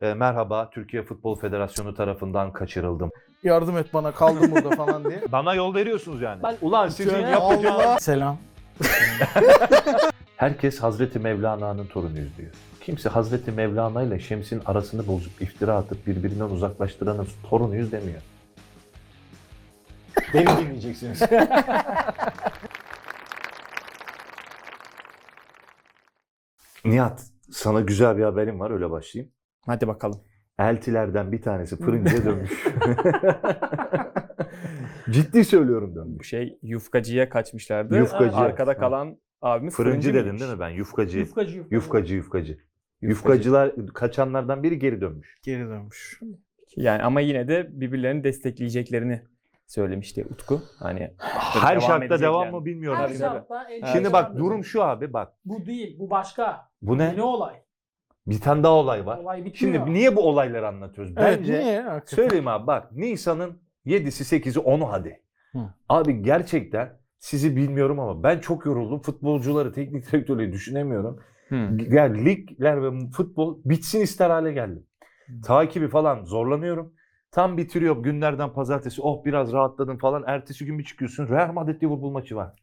e, merhaba Türkiye Futbol Federasyonu tarafından kaçırıldım. Yardım et bana kaldım burada falan diye. Bana yol veriyorsunuz yani. Ben- Ulan sizin Şöyle- yapacağınız... Allah. Selam. Herkes Hazreti Mevlana'nın torunuyuz diyor. Kimse Hazreti Mevlana ile Şems'in arasını bozup iftira atıp birbirinden uzaklaştıranın torunuyuz demiyor. Beni dinleyeceksiniz. Nihat sana güzel bir haberim var öyle başlayayım. Hadi bakalım. Eltilerden bir tanesi fırıncıya dönmüş. Ciddi söylüyorum Bu dönmüş. şey yufkacıya kaçmışlardı. Ee, Yufkacı. Arkada Ha. kalan abimiz Fırıncı dedin miymiş? değil mi ben? Yufkacı. Yufkacı yufkacı. Yufkacı yufkacı. Yufkacılar kaçanlardan biri geri dönmüş. Geri dönmüş. Yani ama yine de birbirlerini destekleyeceklerini söylemişti Utku. Hani Her Devam şartta edecek devam yani. mı bilmiyorum. Her Tabii, şartta en tabii. Şimdi çok bak önemli. durum şu abi bak. Bu değil, bu başka. Bu Ne ne? olay? Bir tane daha olay var. Olay bitmiyor. Şimdi niye bu olayları anlatıyoruz? Evet Bence niye? Hakikaten. söyleyeyim abi bak Nisan'ın 7'si 8'i 10'u hadi. Hı. Abi gerçekten sizi bilmiyorum ama ben çok yoruldum. Futbolcuları, teknik direktörleri düşünemiyorum. Hı. Yani ligler ve futbol bitsin ister hale geldim. Takibi falan zorlanıyorum. Tam bitiriyor günlerden pazartesi. Oh biraz rahatladım falan. Ertesi gün bir çıkıyorsun. Real Madrid Liverpool maçı var.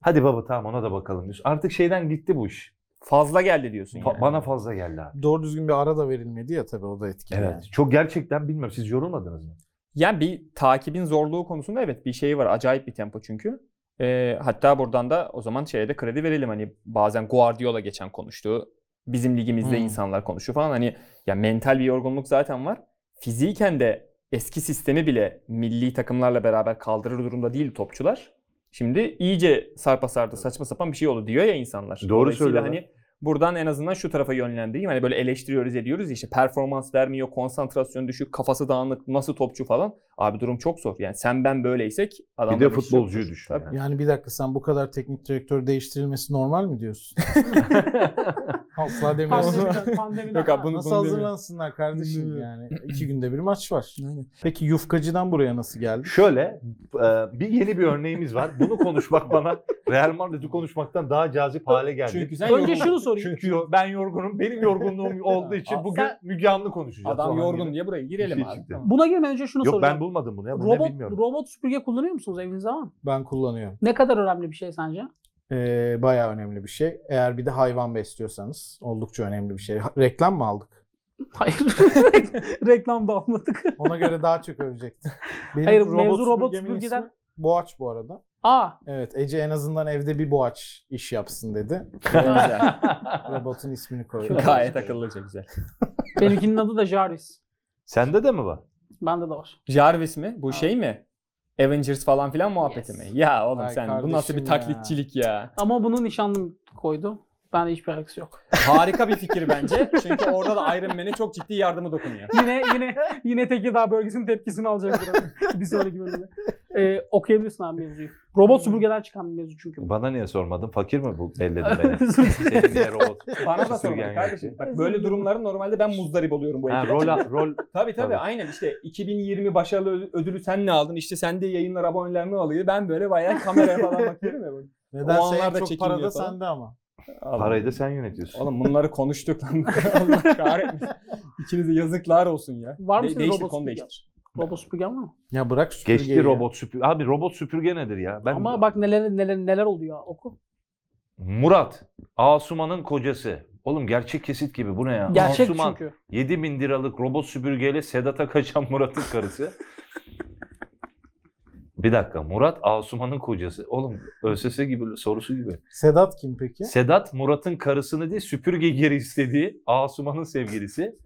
Hadi baba tamam ona da bakalım diyorsun. Artık şeyden gitti bu iş. fazla geldi diyorsun Fa- yani. Bana fazla geldi abi. Doğru düzgün bir ara da verilmedi ya tabii o da etkili. Evet. Çok gerçekten bilmiyorum. Siz yorulmadınız mı? Yani bir takibin zorluğu konusunda evet bir şey var. Acayip bir tempo çünkü. Ee, hatta buradan da o zaman şeye de kredi verelim. Hani bazen Guardiola geçen konuştu. Bizim ligimizde Hmm. insanlar konuşuyor falan. Hani ya mental bir yorgunluk zaten var. Fiziken de eski sistemi bile milli takımlarla beraber kaldırır durumda değil topçular. Şimdi iyice sarpa sardı saçma sapan bir şey oldu diyor ya insanlar. Doğru Dolayısıyla söylüyorlar. Hani buradan en azından şu tarafa yönlendireyim. Hani böyle eleştiriyoruz ediyoruz ya işte performans vermiyor, konsantrasyon düşük, kafası dağınık, nasıl topçu falan. Abi durum çok zor. Yani sen ben böyleysek adam Bir de futbolcuyu düşün. şey Tabii. yani. Yani bir dakika sen bu kadar teknik direktör değiştirilmesi normal mi diyorsun? Asla demiyorum. Pandemiden, pandemiden. Yok abi, bunu- Nasıl demiyorum. hazırlansınlar kardeşim Bunu- yani? İki günde bir maç var. Peki yufkacıdan buraya nasıl geldi? Şöyle e, bir yeni bir örneğimiz var. Bunu konuşmak bana Real Madrid'i konuşmaktan daha cazip hale geldi. Çünkü sen Önce şunu sorayım. Çünkü yo- ben yorgunum. Benim yorgunluğum olduğu için bugün Sen- Müge Anlı konuşacağız. Adam Falan yorgun gibi. diye buraya Bir girelim şey abi. çıktı. Tamam. Buna girmeden önce şunu Yok soracağım. ben bulmadım bunu ya. Bunu ne robot, bilmiyorum. robot süpürge kullanıyor musunuz evinizde ama? Ben kullanıyorum. Ne kadar önemli bir şey sence? Ee, bayağı önemli bir şey. Eğer bir de hayvan besliyorsanız oldukça önemli bir şey. Ha- Reklam mı aldık? Hayır. Reklam da almadık. Ona göre daha çok övecektim. Benim Hayır, mevzu robot süpürgemin süpürgeden- ismi Boğaç bu arada. Aa. Evet Ece en azından evde bir boğaç iş yapsın dedi. Güzel. Robotun ismini koydu. Gayet akıllıca güzel. Benimkinin adı da Jarvis. Sende de mi var? Bende de var. Jarvis mi? Bu Ha. şey mi? Avengers falan filan muhabbeti Yes. mi? Ya oğlum Ay sen bu nasıl kardeşim bir taklitçilik ya. Ama bunu nişanlım koydu. Bende hiçbir alakası yok. Harika bir fikir bence. Çünkü orada da Iron Man'e çok ciddi yardımı dokunuyor. yine yine yine Tekirdağ bölgesinin tepkisini alacak biraz. bir sonraki bölümde. Ee, okuyabilirsin abi mevzuyu. Robot süpürgeden çıkan bir mevzu çünkü. bu. Bana niye sormadın? Fakir mi bu elledin beni? Özür dilerim. Senin niye robot? Bana da Süpürgen sorma kardeşim. yok. Bak böyle durumların normalde ben muzdarip oluyorum bu Ha, ekibe. rol, rol Tabii tabii Tabii. aynen işte 2020 başarılı ö- ödülü sen ne aldın işte sen de yayınlar abonelerini alıyor. Ben böyle bayağı kameraya falan bakıyorum ya. böyle. O Nedense en şey, anlarda çok para çekilmiyor da falan. sende ama. Allah. parayı da sen yönetiyorsun. Oğlum bunları konuştuk lan. Allah kahretmesin. İkinize yazıklar olsun ya. Var mı De- senin değiştir, robot konu süpürge? değiştir. Robot süpürgen var mı? Ya bırak süpürgeyi. Geçti ya. robot süpürge. Abi robot süpürge nedir ya? Ben Ama bak neler neler neler oluyor oku. Murat, Asuman'ın kocası. Oğlum gerçek kesit gibi bu ne ya? Gerçek Asuman çünkü. 7 bin liralık robot süpürgeyle Sedat'a kaçan Murat'ın karısı. Bir dakika Murat Asuman'ın kocası. Oğlum ÖSS gibi sorusu gibi. Sedat kim peki? Sedat Murat'ın karısını değil süpürge geri istediği Asuman'ın sevgilisi.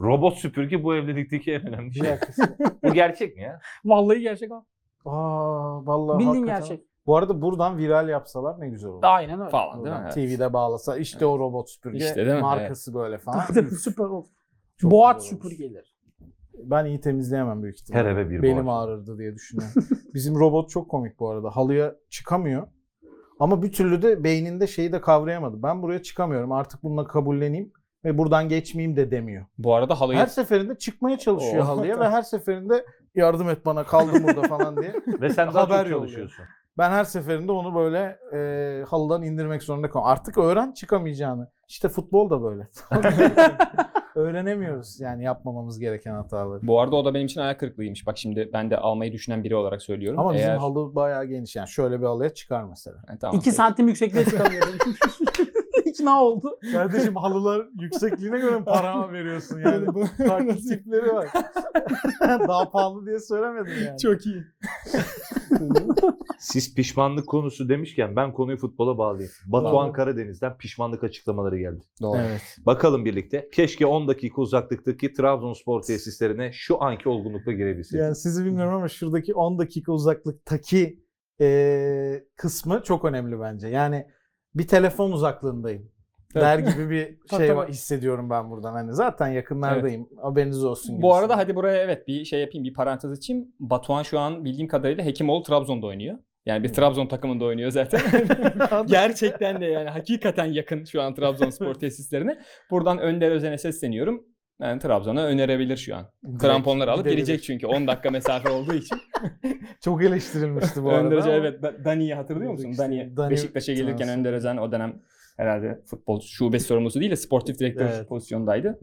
Robot süpürge bu evlilikteki en önemli Bir şey. dakika. bu gerçek mi ya? Vallahi gerçek o. Aa vallahi Bildiğin hakikaten. gerçek. Bu arada buradan viral yapsalar ne güzel olur. Aynen öyle. Falan değil mi? Buradan Evet. TV'de bağlasa işte o robot süpürge İşte değil mi? markası böyle falan. Tabii, Süper oldu. Çok Boğaç güzel olmuş. süpürgeleri. Ben iyi temizleyemem büyük ihtimalle. Her eve bir Belim boğaç. ağrırdı diye düşünüyorum. Bizim robot çok komik bu arada. Halıya çıkamıyor. Ama bir türlü de beyninde şeyi de kavrayamadı. Ben buraya çıkamıyorum. Artık bununla kabulleneyim ve buradan geçmeyeyim de demiyor. Bu arada halayı Her seferinde çıkmaya çalışıyor Oo. halıya ve her seferinde yardım et bana kaldım burada falan diye. Ve sen daha Haber çok yolluyor. çalışıyorsun. Ben her seferinde onu böyle e, halıdan indirmek zorunda kalıyorum. Artık öğren çıkamayacağını. İşte futbol da böyle. Öğrenemiyoruz yani yapmamamız gereken hataları. Bu arada o da benim için ayak kırıklığıymış. Bak şimdi ben de almayı düşünen biri olarak söylüyorum. Ama bizim Eğer- halı bayağı geniş yani. Şöyle bir halıya çıkar mesela. Ha, tamam, 2 peki. santim yüksekliğe çıkamıyorum. İkna oldu. Kardeşim halılar yüksekliğine göre mi para veriyorsun yani? Bu- Farklı tipleri var. Daha pahalı diye söylemedim yani. Çok iyi. Siz pişmanlık konusu demişken ben konuyu futbola bağlayayım. Batuhan Karadeniz'den pişmanlık açıklamaları geldi. Doğru. Evet. Bakalım birlikte. Keşke 10 dakika uzaklıktaki Trabzonspor tesislerine şu anki olgunlukla girebilseydik. Yani sizi bilmiyorum ama şuradaki 10 dakika uzaklıktaki eee, kısmı çok önemli bence. Yani bir telefon uzaklığındayım. Der gibi bir Tabii, şey tabii. var, hissediyorum ben buradan. Hani zaten yakınlardayım. Haberiniz olsun. Bu arada gibisinden. hadi buraya evet bir şey yapayım bir parantez açayım. Batuhan şu an bildiğim kadarıyla Hekimoğlu Trabzon'da oynuyor. Yani bir Trabzon takımında oynuyor zaten. Gerçekten de yani hakikaten yakın şu an Trabzonspor tesislerine. Buradan Önder Özen'e sesleniyorum. Yani Trabzon'a önerebilir şu an. Kramponları alıp gidebilir. gelecek çünkü 10 dakika mesafe olduğu için. çok eleştirilmişti bu arada. Önder Özen ama- evet Da- Dani'yi hatırlıyor musun? İşte Dani, Dani Beşiktaş'a gelirken transfer. Önder Özen o dönem herhalde futbol şube sorumlusu değil de sportif direktör Evet. pozisyondaydı.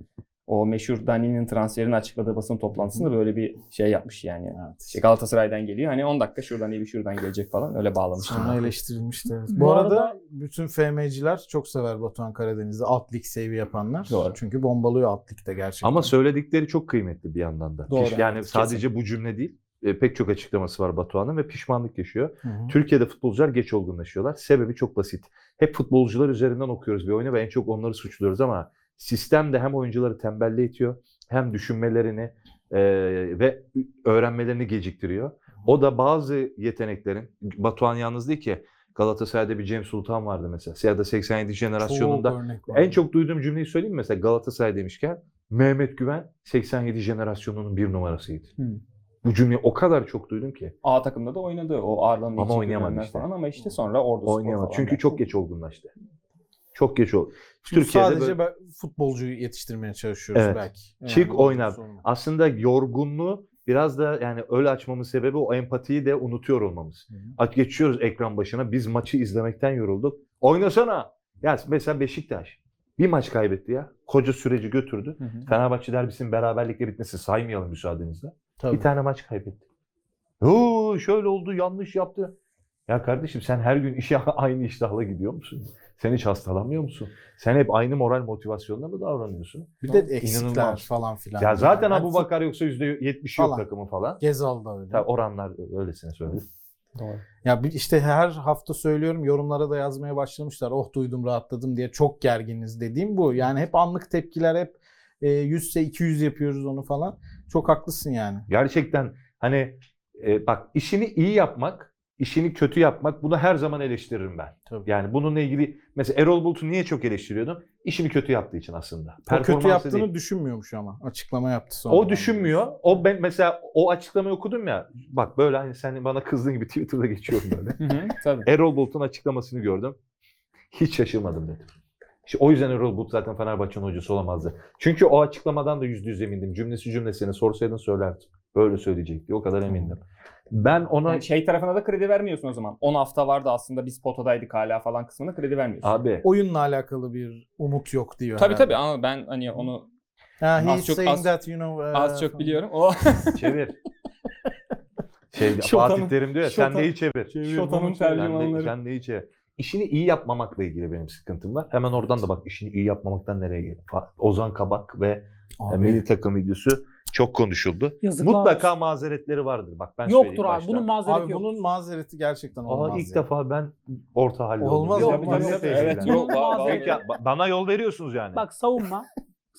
O meşhur Dani'nin transferini açıkladığı basın toplantısında böyle bir şey yapmış yani. Evet. İşte Galatasaray'dan geliyor. Hani 10 dakika şuradan iyi bir şuradan gelecek falan. Öyle bağlamıştım. Sonra eleştirilmişti. evet. Bu Bu, arada, arada- bütün FM'ciler çok sever Batuhan Karadeniz'i. Alt lig sevi yapanlar. Doğru. Çünkü bombalıyor alt ligde gerçekten. Ama söyledikleri çok kıymetli bir yandan da. Doğru, Piş- yani evet, sadece bu cümle değil. e, pek çok açıklaması var Batuhan'ın ve pişmanlık yaşıyor. Hı hı. Türkiye'de futbolcular geç olgunlaşıyorlar. Sebebi çok basit. Hep futbolcular üzerinden okuyoruz bir oyunu ve en çok onları suçluyoruz ama sistem de hem oyuncuları tembelliğe itiyor hem düşünmelerini e, ve öğrenmelerini geciktiriyor. O da bazı yeteneklerin, Batuhan yalnız değil ki Galatasaray'da bir Cem Sultan vardı mesela. Ya da 87 jenerasyonunda Çok örnek var. en çok duyduğum cümleyi söyleyeyim mi? mesela Galatasaray demişken Mehmet Güven 87 jenerasyonunun bir numarasıydı. Hı. Bu cümleyi o kadar çok duydum ki. A takımda da oynadı. O ağırlanma Ama oynayamadı işte. falan ama işte sonra Ordu Spor Oynayamadı. falan Çünkü yani. çok geç olgunlaştı. Çok geç oldu. Çünkü Türkiye'de sadece böyle- ben- futbolcuyu yetiştirmeye çalışıyoruz Evet. belki. Çık, bu oynar. sorun. Aslında yorgunluğu biraz da yani öyle açmamın sebebi o empatiyi de unutuyor olmamız. Hı hı. Aç geçiyoruz ekran başına. Biz maçı izlemekten yorulduk. Oynasana. Ya mesela Beşiktaş bir maç kaybetti ya. Koca süreci götürdü. Hı hı. Fenerbahçe derbisinin beraberlikle bitmesi saymayalım müsaadenizle. Tabii. Bir tane maç kaybetti. Oo, şöyle oldu, yanlış yaptı. Ya kardeşim sen her gün işe aynı iştahla gidiyor musun? Sen hiç hastalanmıyor musun? Sen hep aynı moral motivasyonla mı davranıyorsun? Bir de eksikler İnanılmaz. falan filan. Ya zaten Yani Abu Bakar yoksa %70 yok Falan. takımın falan. Gezal da öyle. Ya oranlar öylesine söyledi. Doğru. Ya bir- işte her hafta söylüyorum yorumlara da yazmaya başlamışlar. Oh duydum rahatladım diye çok gerginiz dediğim bu. Yani hep anlık tepkiler hep e, 100 ise 200 yapıyoruz onu falan. Çok haklısın yani. Gerçekten hani e, bak işini iyi yapmak, işini kötü yapmak bunu her zaman eleştiririm ben. Tabii. Yani bununla ilgili mesela Erol Bulut'u niye çok eleştiriyordum? İşini kötü yaptığı için aslında. O kötü Performansı yaptığını değil. düşünmüyormuş ama. Açıklama yaptı sonra. O düşünmüyor. O ben mesela o açıklamayı okudum ya. Bak böyle hani sen bana kızdığın gibi Twitter'da geçiyorum böyle. Hı hı, Tabii. Erol Bulut'un açıklamasını gördüm. Hiç şaşırmadım dedim. İşte o yüzden Erol Bulut zaten Fenerbahçe'nin hocası olamazdı. Çünkü o açıklamadan da yüzde yüz emindim. Cümlesi cümlesine sorsaydın söylerdim. Böyle söyleyecekti. O kadar emindim. Ben ona Yani şey tarafına da kredi vermiyorsun o zaman. 10 hafta vardı aslında biz potadaydık hala falan kısmına kredi vermiyorsun. abi Oyunla alakalı bir umut yok diyor. Tabii herhalde. tabii ama ben hani onu Ha, he's Az çok- saying az- that you know. eh, az çok falan. biliyorum. O çevir. Şey, Şotan'ın- Fatih Terim diyor ya sen Şotan- neyi çevir. Şotan'ın Sen de, tercümanları. sen de hiç işini iyi yapmamakla ilgili benim sıkıntım var. Hemen oradan da bak işini iyi yapmamaktan nereye geldi. Ozan Kabak ve Abi, milli takım videosu çok konuşuldu. Yazıklar Mutlaka olsun. mazeretleri vardır bak ben Yoktur söyleyeyim abi. baştan. Bunun mazereti abi yok. bunun mazereti gerçekten olmaz. Aa, ilk ya. defa ben orta halde Olmaz oldum. ya, bu Milli yok. sevgiler. Evet şey yani. yok. var- var- Peki, ba- bana yol veriyorsunuz yani. Bak savunma.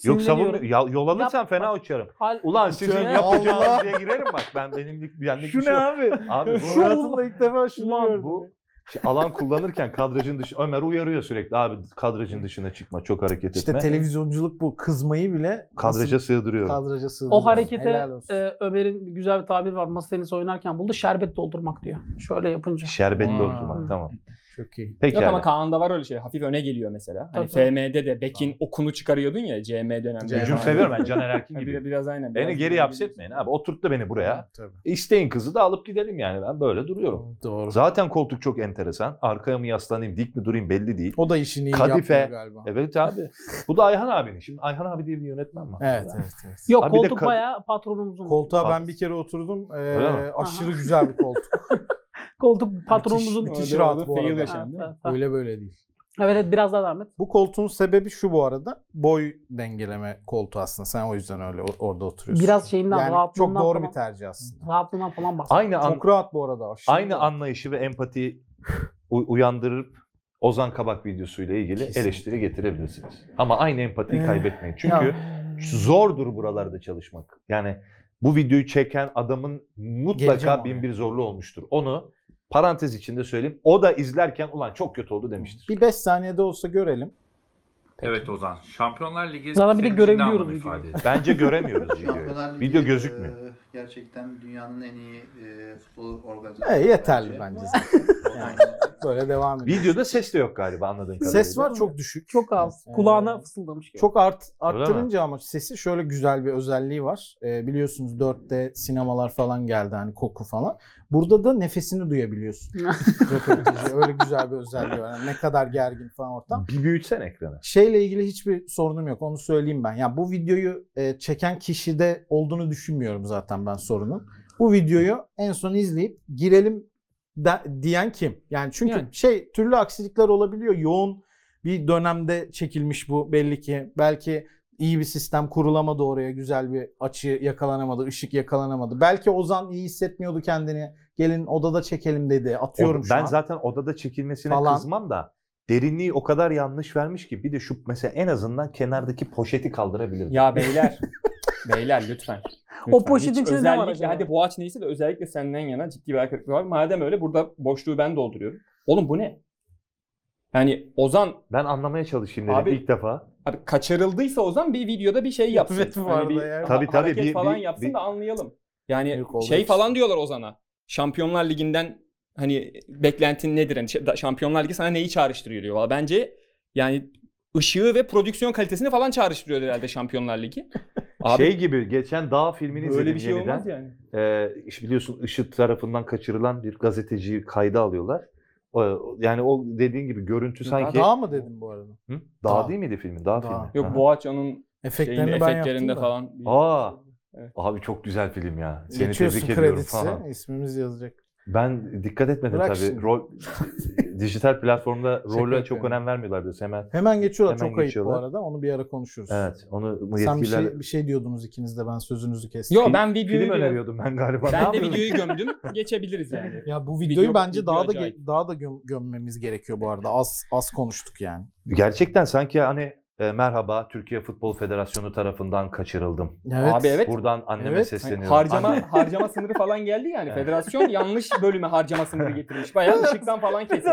Yok savun Sinirleniyorum. ya, yol alırsan Yapma. fena uçarım. Hal- Ulan sizin Uçarım. yapacağınız Allah. şeye girerim bak. Ben benimlik benlik Şu bir ne şey yok. abi? Abi bu- Şu hayatımda ilk defa şunu Ulan gördüm. Bu şey, alan kullanırken kadrajın dışı Ömer uyarıyor sürekli abi kadrajın dışına çıkma çok hareket İşte etme. televizyonculuk bu. Kızmayı bile Kadraja nasıl- sığdırıyorum. kadraja sığdırıyor. o harekete Helal olsun. e, Ömer'in güzel bir tabiri var. Masa tenisi oynarken buldu. Şerbet doldurmak diyor. Şöyle yapınca. Şerbetli Hmm. oturmak tamam. Çok iyi. Peki Yok ama Kaan'da var öyle şey. Hafif öne geliyor mesela. Hani Tabii, tabii. FM'de de Bekin okunu çıkarıyordun ya CM döneminde. Hücum Hücum Hücum seviyorum ben Caner Erkin gibi. Biraz, Hani biraz aynen. Beni biraz geri böyle hapsetmeyin abi. Oturttu beni buraya. Tabii. İsteyin kızı da alıp gidelim yani. Ben böyle duruyorum. Doğru. Zaten koltuk çok enteresan. Arkaya mı yaslanayım, dik mi durayım belli değil. O da işini iyi Kadife. yapmıyor galiba. Evet abi. Bu da Ayhan abinin. Şimdi Ayhan abi diye bir yönetmen var. Evet, evet, evet. Yok Abi bir de koltuk kad- bayağı patronumuzun. Koltuğa ben bir kere oturdum. Ee, Öyle mi? aşırı güzel bir koltuk. koltuk patronumuzun. Müthiş, müthiş Öyle rahat oldu, bu fail arada. yaşandı. Ha, ha, ha. Öyle böyle değil. Evet, evet biraz daha devam et. Bu koltuğun sebebi şu bu arada. Boy dengeleme koltuğu aslında. Sen o yüzden öyle o- orada oturuyorsun. Biraz şeyinden yani çok rahatlığından doğru falan, bir tercih aslında. rahatlığından falan bahsediyor. Aynı an, Çok rahat bu arada. aşırı aynı rahat. anlayışı ve empati u- uyandırıp Ozan Kabak videosuyla ilgili Kesinlikle. eleştiri getirebilirsiniz. Ama aynı empatiyi Eh, kaybetmeyin. Çünkü hmm. zordur buralarda çalışmak. Yani bu videoyu çeken adamın Geleceğim mutlaka oraya. bin bir zorlu olmuştur. Onu parantez içinde söyleyeyim. O da izlerken ulan çok kötü oldu demiştir. Bir 5 saniyede olsa görelim. Evet Ozan. Şampiyonlar Ligi Zaten bir de senin için ne görebiliyoruz anlam videoyu. ifade ediyor? Bence göremiyoruz Şampiyonlar videoyu. Ligi, Video gözükmüyor. e, gerçekten dünyanın en iyi e, futbol E, organizasyonu. şey yeterli bence. Yani. Böyle devam edelim. Videoda ses de yok galiba anladığım kadarıyla. Ses var çok düşük. Çok az. Ee, Kulağına fısıldamış gibi. Çok art Öyle mi? arttırınca ama sesi şöyle güzel bir özelliği var. Ee, biliyorsunuz 4D sinemalar falan geldi hani koku falan. Burada da nefesini duyabiliyorsun. Röportajı öyle güzel bir özelliği var. Yani ne kadar gergin falan ortam. Bir büyütsen ekranı. Şeyle ilgili hiçbir sorunum yok. Onu söyleyeyim ben. Ya bu videoyu e, çeken kişide olduğunu düşünmüyorum zaten ben sorunun. Bu videoyu en son izleyip girelim de- diyen kim? Yani çünkü Yani. şey türlü aksilikler olabiliyor. Yoğun bir dönemde çekilmiş bu belli ki. Belki iyi bir sistem kurulamadı oraya. Güzel bir açı yakalanamadı, ışık yakalanamadı. Belki Ozan iyi hissetmiyordu kendini. Gelin odada çekelim dedi. Atıyorum şu ben an. zaten odada çekilmesine Falan. kızmam da derinliği o kadar yanlış vermiş ki bir de şu mesela en azından kenardaki poşeti kaldırabilirim. Ya beyler. beyler lütfen. O Lütfen. poşetin Hiç içinde ne var özellikle, acaba? Hadi Boğaç neyse de özellikle senden yana ciddi bir aykırılık var. Madem öyle burada boşluğu ben dolduruyorum. Oğlum bu ne? Yani Ozan Ben anlamaya çalışayım dedim Abi- ilk defa. abi kaçırıldıysa Ozan bir videoda bir şey yapsın. Evet, bu arada bir yani. ha- Tabii, tabii, hareket Hani bir- falan bir- yapsın bir- da anlayalım. Yani Yok, olur. şey falan diyorlar Ozan'a. Şampiyonlar Ligi'nden hani beklentin nedir? Hani şey- Şampiyonlar Ligi sana neyi çağrıştırıyor diyor. Valla Bence yani ışığı ve prodüksiyon kalitesini falan çağrıştırıyor herhalde Şampiyonlar Ligi. Abi şey gibi geçen Dağ filmini böyle izledim bir şey yeniden. olmaz yani. Ee, işte biliyorsun IŞİD tarafından kaçırılan bir gazeteciyi kayda alıyorlar. O- Yani o dediğin gibi görüntü Hı, sanki Daha mı dedim bu arada? Hı? Dağ. Dağ, değil miydi filmin? Dağ, Dağ. filmi. Yok Aha. Boğaç onun Efektlerini şeyinde, ben yaptım efektlerinde da. falan. Aa. Evet. Abi çok güzel film ya. Seni Geçiyorsun tebrik ediyorum kredisi. falan. ismimiz yazacak. Ben dikkat etmedim Bırak tabii. şimdi. Rol dijital platformda Şaka role çok yapıyorum. önem vermiyorlar diyorsun hemen. Hemen geçiyorlar. Hemen çok ayıp geçiyorlar. bu arada. Onu bir ara konuşuruz. Evet, onu bu Sen bir yetkililer şey, bir şey diyordunuz ikiniz de ben sözünüzü kestim. Yok ben videoyu film öneriyordum ben galiba. Ne Ben de yapıyorsun? videoyu gömdüm. Geçebiliriz yani. Ya bu videoyu Video- bence video daha da acayip. ge- daha da göm- gömmemiz gerekiyor bu arada. Az az konuştuk yani. Gerçekten sanki hani e, merhaba Türkiye Futbol Federasyonu tarafından kaçırıldım. Evet. Abi evet. Buradan anneme Evet. sesleniyorum. Hani Hani Harcama Anne, harcama sınırı falan geldi yani. Evet. Federasyon yanlış bölüme harcama sınırı getirmiş. Bayağı ışıktan falan kesmiş.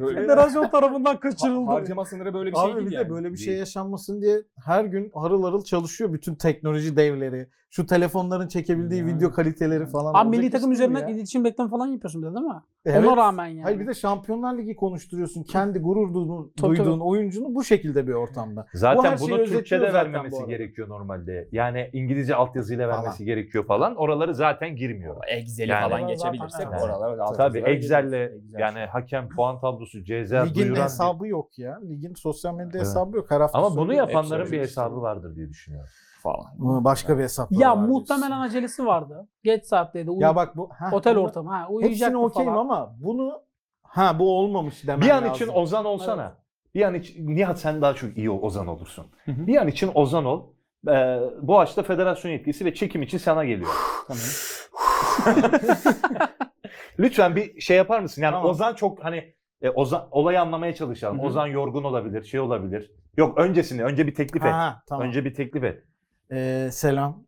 Böyle- Federasyon tarafından Ha- kaçırıldı. harcama sınırı böyle bir şey Abi değil bir yani. de böyle bir şey Değil. yaşanmasın diye her gün harıl harıl çalışıyor bütün teknoloji devleri. Şu telefonların çekebildiği Yani. video kaliteleri falan. Abi Olacak milli iş takım değil üzerinden ya. iletişim bekleme falan yapıyorsun bir de değil mi? Evet. Ona rağmen yani. Hayır bir de Şampiyonlar Ligi konuşturuyorsun. Kendi gurur duyduğun, Tabii, duyduğun oyuncunu bu şekilde bir ortamda. Bu her Zaten şeyi bunu özetiyor Türkçe'de zaten bu vermemesi arada. gerekiyor normalde. Yani İngilizce altyazıyla Falan. vermesi gerekiyor falan. Oraları zaten girmiyor. Excel'i Yani- falan Zaten- geçebilirsek Evet. bu oralar öyle alt Tabii yazılar Excel'le geçeriz. Excel. yani hakem puan tablosu ceza Ligin duyuran. hesabı yok ya. Ligin sosyal medya Evet. hesabı yok. Her hafta Ama söylüyorum. bunu yapanların bir Hepsi hesabı vardır diye düşünüyorum. falan. Ama Başka bir hesap ya muhtemelen acelesi vardı. Geç saatteydi. Uyu- Ya bak bu heh, otel bunu- ortamı. Ha, Hepsini uyuyacaktı okeyim falan. ama bunu ha bu olmamış demen Bir an lazım. için Ozan olsana. Bir an için Nihat sen daha çok iyi Ozan olursun. Hı hı. Bir an için Ozan ol. Ee, Boğaç'ta federasyon yetkisi ve çekim için sana geliyor. Tamam. Lütfen bir şey yapar mısın? Yani Tamam. Ozan çok hani e, Ozan olayı anlamaya çalışalım. Hı hı. Ozan yorgun olabilir, şey olabilir. Yok öncesini, önce bir teklif et. Ha, tamam. Önce bir teklif et. Ee, selam.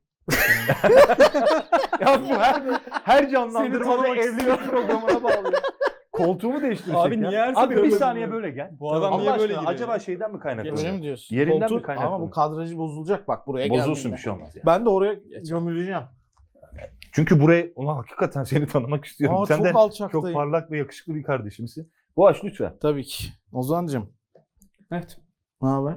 Ya bu her, her Seni canlandırmada tanımak evlilik programına bağlıyor. Koltuğumu değiştirsek Abi ya. niye her Abi bir seferinde saniye böyle? böyle gel. Bu adam Allah niye böyle aşkına, giriyor? acaba şeyden mi Öyle kaynaklanıyor? mi diyorsun? Yerinden mi Koltuk- kaynaklanıyor? Ama bu kadrajı bozulacak bak buraya Bozulsun şey. geldiğinde. bir şey olmaz ya. Ben de oraya gömüleceğim. Çünkü buraya ulan hakikaten seni tanımak istiyorum. Aa, Sen de çok alçaktayım. çok parlak ve yakışıklı bir kardeşimsin. Boğaç lütfen. Tabii ki. Ozan'cığım Evet. ne haber?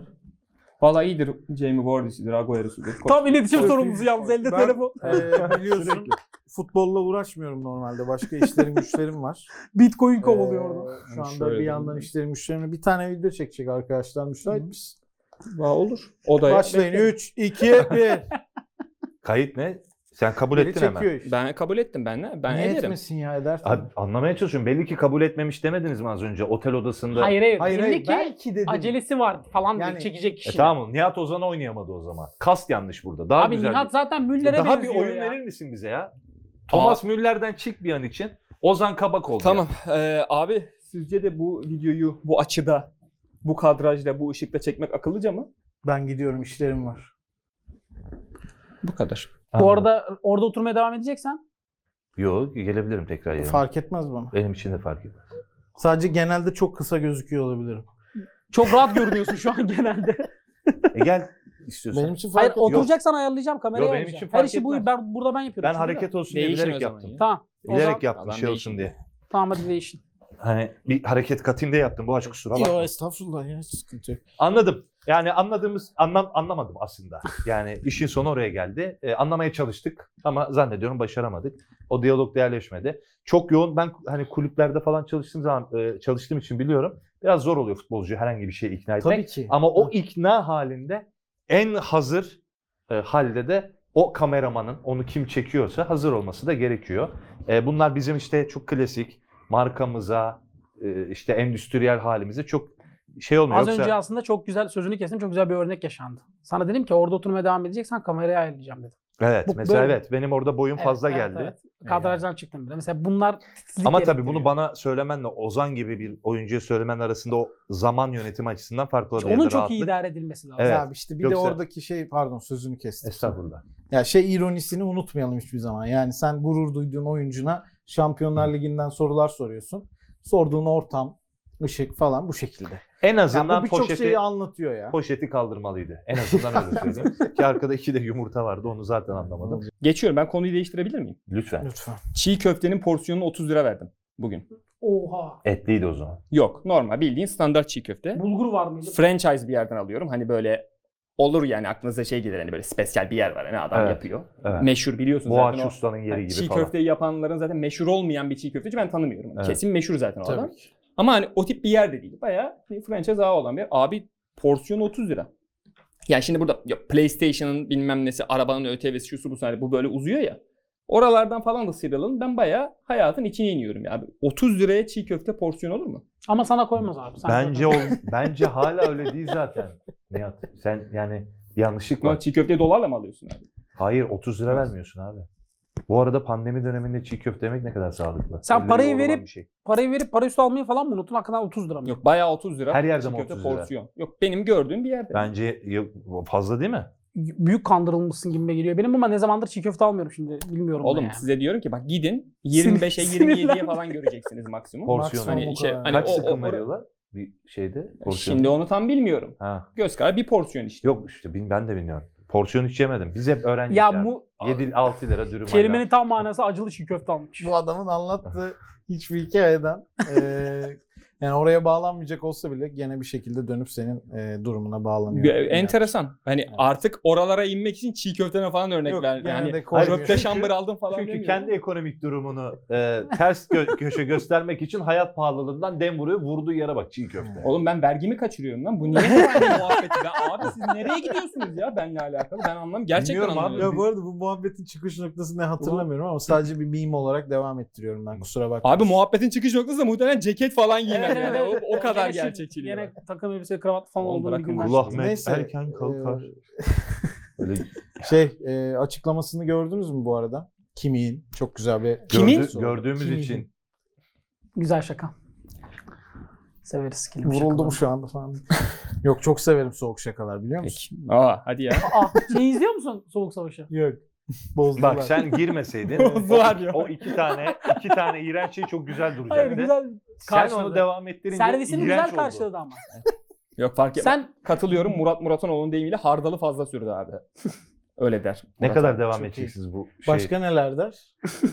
Vallahi iyidir. Jamie Vardy'sidir, Agüero'sudur. Tam iletişim sorumlusu yalnız elde Ben- telefon. Ee, biliyorsun futbolla uğraşmıyorum normalde. Başka işlerim güçlerim var. Bitcoin kovalıyor orada. Ee, Şu Yani anda şöyle bir de- yandan işlerim güçlerim. Bir tane video çekecek arkadaşlar müsait misin? Aa, olur. O da Başlayın. 3, 2, 1. Kayıt ne? Sen kabul Biri ettin hemen. çekiyor işte. Ben kabul ettim ben ne? Ben Niye ederim. etmesin ya eder tabii. Abi, anlamaya çalışıyorum. Belli ki kabul etmemiş demediniz mi az önce otel odasında? E Hayır hayır. Hayır, Belli hayır ki belki dedim. acelesi var falan diye Yani- çekecek kişi. E tamam oğlum, Nihat Ozan oynayamadı o zaman. Kast yanlış burada. Daha Abi güzel. Nihat zaten Müller'e Daha bir benziyor oyun ya. verir misin bize ya? Thomas Müller'den çık bir an için. Ozan Kabak oldu. Tamam. Ee, abi sizce de bu videoyu bu açıda, bu kadrajda, bu ışıkta çekmek akıllıca mı? Ben gidiyorum işlerim var. Bu kadar. Bu arada orada oturmaya devam edeceksen Yok gelebilirim tekrar yerine. Fark etmez bana. Benim için de fark etmez. Sadece genelde çok kısa gözüküyor olabilirim. çok rahat görünüyorsun şu an genelde. E gel istiyorsan. Benim için fark Hayır etmez. oturacaksan ayarlayacağım kamerayı Yok, benim ayarlayacağım. için fark Her işi bu etmez. ben burada ben yapıyorum. ben şimdi, değil mi? hareket olsun diye Değişin o bilerek zaman yaptım. ya. Tamam. o zaman- Bilerek yaptım Adam şey değişik. olsun diye. Tamam hadi değişin. Hani bir hareket katayım diye yaptım. Bu açık kusura bakma. Yok estağfurullah ya hiç sıkıntı yok. Anladım. Yani anladığımız, anlam, anlamadım aslında. Yani işin sonu oraya geldi. Ee, anlamaya çalıştık ama zannediyorum başaramadık. O diyalog değerleşmedi. Çok yoğun, ben hani kulüplerde falan çalıştığım zaman, e, çalıştığım için biliyorum. Biraz zor oluyor futbolcu herhangi bir şeye ikna etmek. Tabii ki. Ama o ikna halinde en hazır e, halde de o kameramanın onu kim çekiyorsa hazır olması da gerekiyor. E, bunlar bizim işte çok klasik markamıza, e, işte endüstriyel halimize çok şey olmuyor. Az Yoksa- önce aslında çok güzel sözünü kestim. Çok güzel bir örnek yaşandı. Sana dedim ki orada oturmaya devam edeceksen kamerayı ayarlayacağım dedim. Evet Bu- mesela böyle- evet benim orada boyum Evet, fazla evet, geldi. evet. Kadrajdan çıktım bile. Mesela bunlar titizlik Ama tabii bunu gerektiriyor. bana söylemenle Ozan gibi bir oyuncuya söylemen arasında o zaman yönetimi açısından farklı olabilir. onun çok iyi rahatlık. idare edilmesi lazım. Evet. Ya işte bir Yoksa- de oradaki şey pardon sözünü kestim. Estağfurullah. Ya şey ironisini unutmayalım hiçbir zaman. Yani sen gurur duyduğun oyuncuna Şampiyonlar Ligi'nden sorular soruyorsun. Sorduğun ortam, ışık falan bu şekilde. En Yani bu azından birçok poşeti şeyi anlatıyor ya. poşeti kaldırmalıydı. En azından öyle söyleyeyim. Ki arkada iki de yumurta vardı onu zaten anlamadım. Geçiyorum. Ben konuyu değiştirebilir miyim? Lütfen. Lütfen. Çiğ köftenin porsiyonunu 30 lira verdim bugün. Oha. Etliydi o zaman. Yok. Normal bildiğin standart çiğ köfte. Bulgur var mıydı? Franchise bir yerden alıyorum. Hani böyle olur yani aklınıza şey gelir hani böyle spesyal bir yer var hani adam Evet, yapıyor. evet. Meşhur biliyorsunuz Boğaç zaten o. Usta'nın yeri Yani gibi çiğ falan. köfteyi yapanların zaten meşhur olmayan bir çiğ köfteci ben tanımıyorum. Evet. Kesin meşhur zaten o Tabii adam. Ama hani o tip bir yer de değil. Bayağı bir franchise ağı olan bir yer. Abi porsiyon 30 lira. Yani şimdi burada ya PlayStation'ın bilmem nesi, arabanın ÖTV'si, şusu busu hani bu böyle uzuyor ya. Oralardan falan da sıyrılalım. Ben bayağı hayatın içine iniyorum ya. Abi 30 liraya çiğ köfte porsiyon olur mu? Ama sana koymaz abi. Sen Bence ol, bence hala öyle değil zaten. Nihat sen yani yanlışlık var. Lan Çiğ köfteyi dolarla mı alıyorsun abi? Hayır 30 lira vermiyorsun abi. Bu arada pandemi döneminde çiğ köfte yemek ne kadar sağlıklı. Sen Elleri parayı yoğrulan verip- bir şey. Parayı verip para üstü almayı falan mı unuttun? Hakikaten 30 lira mı? Yok bayağı 30 lira. Her yerde çiğ mi köfte 30 lira? porsiyon. Yok benim gördüğüm bir yerde. Bence ya- fazla değil mi? Büyük kandırılmışsın gibi geliyor benim ama ne zamandır çiğ köfte almıyorum şimdi. Bilmiyorum. Oğlum ne ya. size diyorum ki bak gidin 25'e Sinirlendim. 27'ye falan göreceksiniz maksimum. Porsiyon. Maksimum Hani bu şey, kadar. hani Kaç o- o- sıkım o- veriyorlar bir şeyde? Porsiyon. Şimdi onu tam bilmiyorum. Ha. Göz kararı bir porsiyon işte. Yok işte bin- ben de bilmiyorum. Porsiyon hiç yemedim. Biz hep öğrendik. Ya bu 7-6 lira dürüm. kelimenin tam manası acılı çiğ köfte almış. Bu adamın anlattığı hiçbir hikayeden eee, yani oraya bağlanmayacak olsa bile gene bir şekilde dönüp senin eee, durumuna bağlanıyor. Gö- Enteresan. Hani Evet. artık oralara inmek için çiğ köftene falan örnek Yok, ver. gene de Yani koymuyor. köfte şambır aldım falan Çünkü demiyorum. kendi ekonomik durumunu e, ters gö- köşe göstermek için hayat pahalılığından dem vuruyor. Vurduğu yere bak çiğ köfte. Oğlum ben vergimi kaçırıyorum lan. Bu niye bu kadar muhabbeti? Ben, abi siz nereye gidiyorsunuz ya benimle alakalı? Ben anlam gerçekten Bilmiyorum abi. anlamıyorum. Ya bu arada bu muhabbetin çıkış noktası ne hatırlamıyorum ama sadece bir meme olarak devam ettiriyorum ben kusura bakma. Abi muhabbetin çıkış noktası da muhtemelen ceket falan giymen. Evet, yani. evet. O, o kadar Gene şey- gerçekçiliği. var. Yine takım elbise kravat falan Oğlum olduğunu bir bırakın gün bunu. ben- Allah Mehmet Neyse, erken kalkar. eee, Böyle Şey eee, açıklamasını gördünüz mü bu arada? Kimi'nin çok güzel bir Kimin? gördü- gördüğümüz Kimin? için Güzel şaka. Severiz kelime Vuruldum şakaları. şu anda falan. Yok çok severim soğuk şakalar biliyor musun? Peki. Aa hadi ya. Aa, şey izliyor musun Soğuk Savaşı? Yok. Bozdular. bak sen girmeseydin Bozdular o, ya. o iki tane iki tane iğrenç şey çok güzel duracaktı. Hayır güzel Sen karşıladı. onu devam ettirince Servisini iğrenç güzel oldu. karşıladı ama. Yok fark etmez. Sen Katılıyorum Murat Muratanoğlu'nun deyimiyle hardalı fazla sürdü abi. Öyle der. Ne Murat kadar abi. devam çok edeceksiniz bu şey? Başka neler der?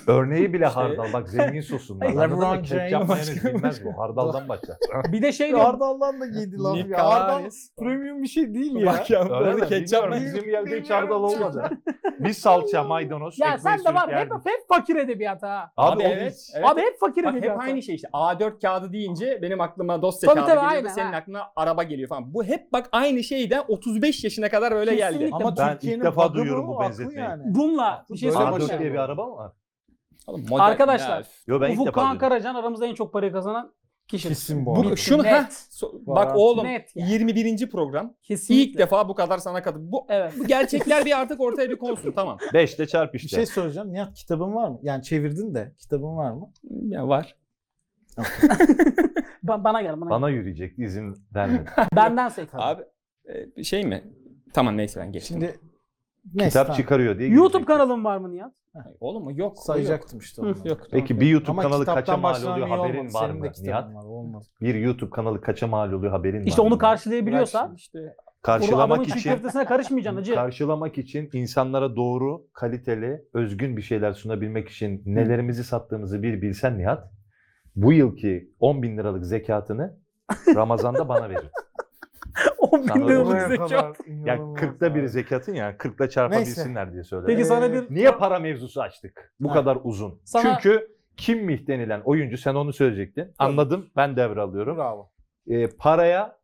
Örneği bile İşte- hardal. Bak zengin sosun. Ay, LeBron James. Başka bilmez bu. Hardaldan başlar. Bir de şey diyor. Hardal'dan da giydi lan Nick ya. Hardal Kararis. premium bir şey değil ya. Bak ya. Öyle Orada mi? ketçap Bilmiyorum, Bizim yerde hiç hardal olmadı. Bir salça, maydanoz, Ya ekmeği sen de sürüp var hep, yerdik. hep fakir edebiyat ha. Abi, Abi o evet. biz- evet. Abi hep fakir Bak hep edebiyat. ha. aynı şey işte. A4 kağıdı deyince benim aklıma dosya Tabii, kağıdı tabii, geliyordu. aynen, Senin ha. aklına araba geliyor falan. Bu hep bak aynı şey de 35 yaşına kadar böyle geldi. Kesinlikle. Ama Ben ilk Türkiye'nin defa bug'ı duyuyorum bu aklı benzetmeyi. Bununla bir şey Böyle A4 söyleyeyim. başa- mi? diye bir araba mı var? Oğlum modern- Arkadaşlar, Ya, Yo ben ilk Ufuk defa Kağan duydum. Karacan aramızda en çok parayı kazanan kişi. Kesin bu. Bu, arada. şunu Net. ha. so- bak Var. oğlum Net yani. 21. program. Kesinlikle. İlk defa bu kadar sana katı. Bu, Evet. bu gerçekler bir artık ortaya bir konsun tamam. Beşte çarp Bir işte. şey soracağım. Nihat kitabın var mı? Yani çevirdin de kitabın var mı? Ya var. Ba- bana gel bana. gel. Bana yürüyecek izin vermedi. Benden sek. Abi e, şey mi? Tamam neyse ben geçtim. Şimdi neyse, Kitap tamam. çıkarıyor diye. YouTube yürüyecek. kanalım var mı Nihat? Ay, Oğlum mu? Yok. Sayacaktım işte Yok. onları. Yok. Peki tamam. bir YouTube Ama kanalı kitaptan kaça mal başlamam oluyor iyi olmadı. haberin var Senin de mı kitabın Nihat? var, olmadı. Bir YouTube kanalı kaça mal oluyor haberin var İşte mı? onu Bırak karşılayabiliyorsa şimdi işte. bunu adamın karşılamak çiğ için köftesine karışmayacaksın acı. karşılamak için insanlara doğru, kaliteli, özgün bir şeyler sunabilmek için nelerimizi sattığımızı bir bilsen Nihat. Bu yılki 10 bin liralık zekatını Ramazan'da bana verir. 10 bin Sana liralık Buraya zeka. Ya 40'ta biri zekatın ya 40'ta çarpabilsinler diye söyledim. Peki sana Ee, bir Niye para mevzusu açtık? Bu Ha. kadar uzun. Sana- Çünkü kim mih denilen oyuncu sen onu söyleyecektin. Anladım ben devralıyorum. Bravo. Ee, paraya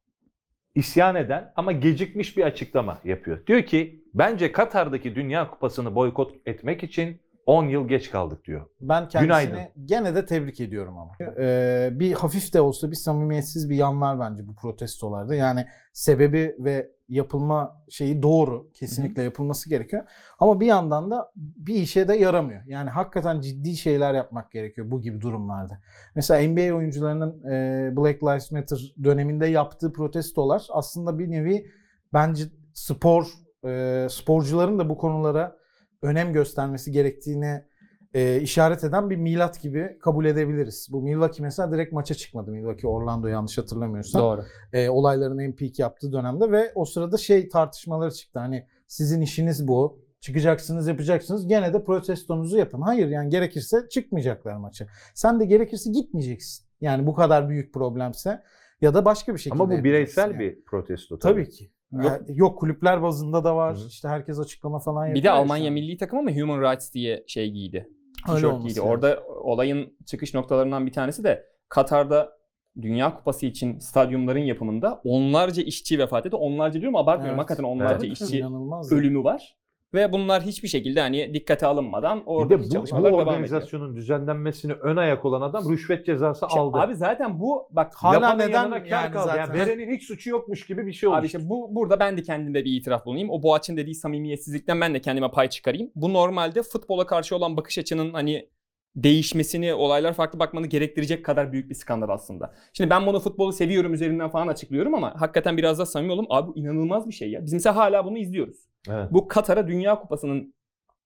isyan eden ama gecikmiş bir açıklama yapıyor. Diyor ki bence Katar'daki Dünya Kupası'nı boykot etmek için 10 yıl geç kaldık diyor. Ben kendisini Günaydın. gene de tebrik ediyorum ama. Ee, bir hafif de olsa bir samimiyetsiz bir yan var bence bu protestolarda. Yani sebebi ve yapılma şeyi doğru. Kesinlikle yapılması gerekiyor. Ama bir yandan da bir işe de yaramıyor. Yani hakikaten ciddi şeyler yapmak gerekiyor bu gibi durumlarda. Mesela NBA oyuncularının e, Black Lives Matter döneminde yaptığı protestolar aslında bir nevi bence spor e, sporcuların da bu konulara önem göstermesi gerektiğini e, işaret eden bir milat gibi kabul edebiliriz. Bu Milwaukee mesela direkt maça çıkmadı. Milwaukee Orlando yanlış hatırlamıyorsam. Doğru. E, olayların en peak yaptığı dönemde ve o sırada şey tartışmaları çıktı. Hani sizin işiniz bu. Çıkacaksınız, yapacaksınız. Gene de protestonuzu yapın. Hayır yani gerekirse çıkmayacaklar maça. Sen de gerekirse gitmeyeceksin. Yani bu kadar büyük problemse ya da başka bir şekilde. Ama bu bireysel yapacaksın yani. bir protesto tabii. Tabii ki. Yok, yok kulüpler bazında da var. İşte herkes açıklama falan yapıyor. Bir de ya Almanya şu an. milli takımı ama Human Rights diye şey giydi. Öyle tişört olması giydi. lazım. Orada olayın çıkış noktalarından bir tanesi de Katar'da Dünya Kupası için stadyumların yapımında onlarca işçi vefat etti. Onlarca diyorum abartmıyorum. Evet. Hakikaten onlarca Tabii ki, işçi inanılmaz. ölümü var. Ve bunlar hiçbir şekilde hani dikkate alınmadan Bir orada de bu, bu çalışmalar devam ediyor. organizasyonun düzenlenmesini ön ayak olan adam rüşvet cezası İşte aldı. Şey, Abi zaten bu bak Hala Yapanın neden yanına kar yani kaldı. zaten? Yani verenin hiç suçu yokmuş gibi bir şey olmuş. Abi işte bu burada ben de kendimde bir itiraf bulunayım. O Boğaç'ın dediği samimiyetsizlikten ben de kendime pay çıkarayım. Bu normalde futbola karşı olan bakış açının hani değişmesini, olaylar farklı bakmanı gerektirecek kadar büyük bir skandal aslında. Şimdi ben bunu futbolu seviyorum üzerinden falan açıklıyorum ama hakikaten biraz daha samimi olalım. Abi bu inanılmaz bir şey ya. Biz mesela hala bunu izliyoruz. Evet. Bu Katar'a Dünya Kupası'nın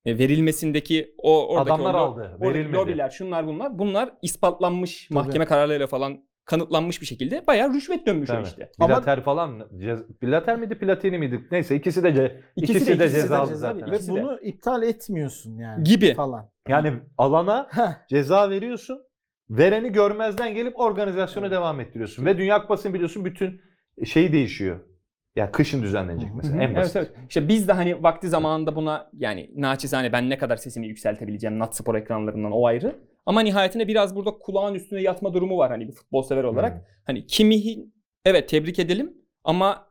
e, verilmesindeki o oradaki Adamlar o lo- aldı. oradaki Verilmedi. lobiler, şunlar bunlar. Bunlar ispatlanmış mahkeme kararlarıyla falan kanıtlanmış bir şekilde bayağı rüşvet dönmüş o Tabii. şey işte. Plater falan. Cez... Plater miydi, Platini miydi? Neyse ikisi de ce... ikisi, de, cezalı ceza- zaten. ikisi Ve de. bunu iptal etmiyorsun yani. Gibi. Falan. Yani alana Heh. ceza veriyorsun. Vereni görmezden gelip organizasyonu devam ettiriyorsun. Ve Dünya Kupası'nın biliyorsun bütün e, şeyi değişiyor. Ya kışın düzenlenecek mesela en Evet basit. evet. İşte biz de hani vakti zamanında buna yani naçizane ben ne kadar sesimi yükseltebileceğim Nat Spor ekranlarından o ayrı. Ama nihayetinde biraz burada kulağın üstüne yatma durumu var hani bir futbol sever olarak. Hmm. Hani kimi evet tebrik edelim ama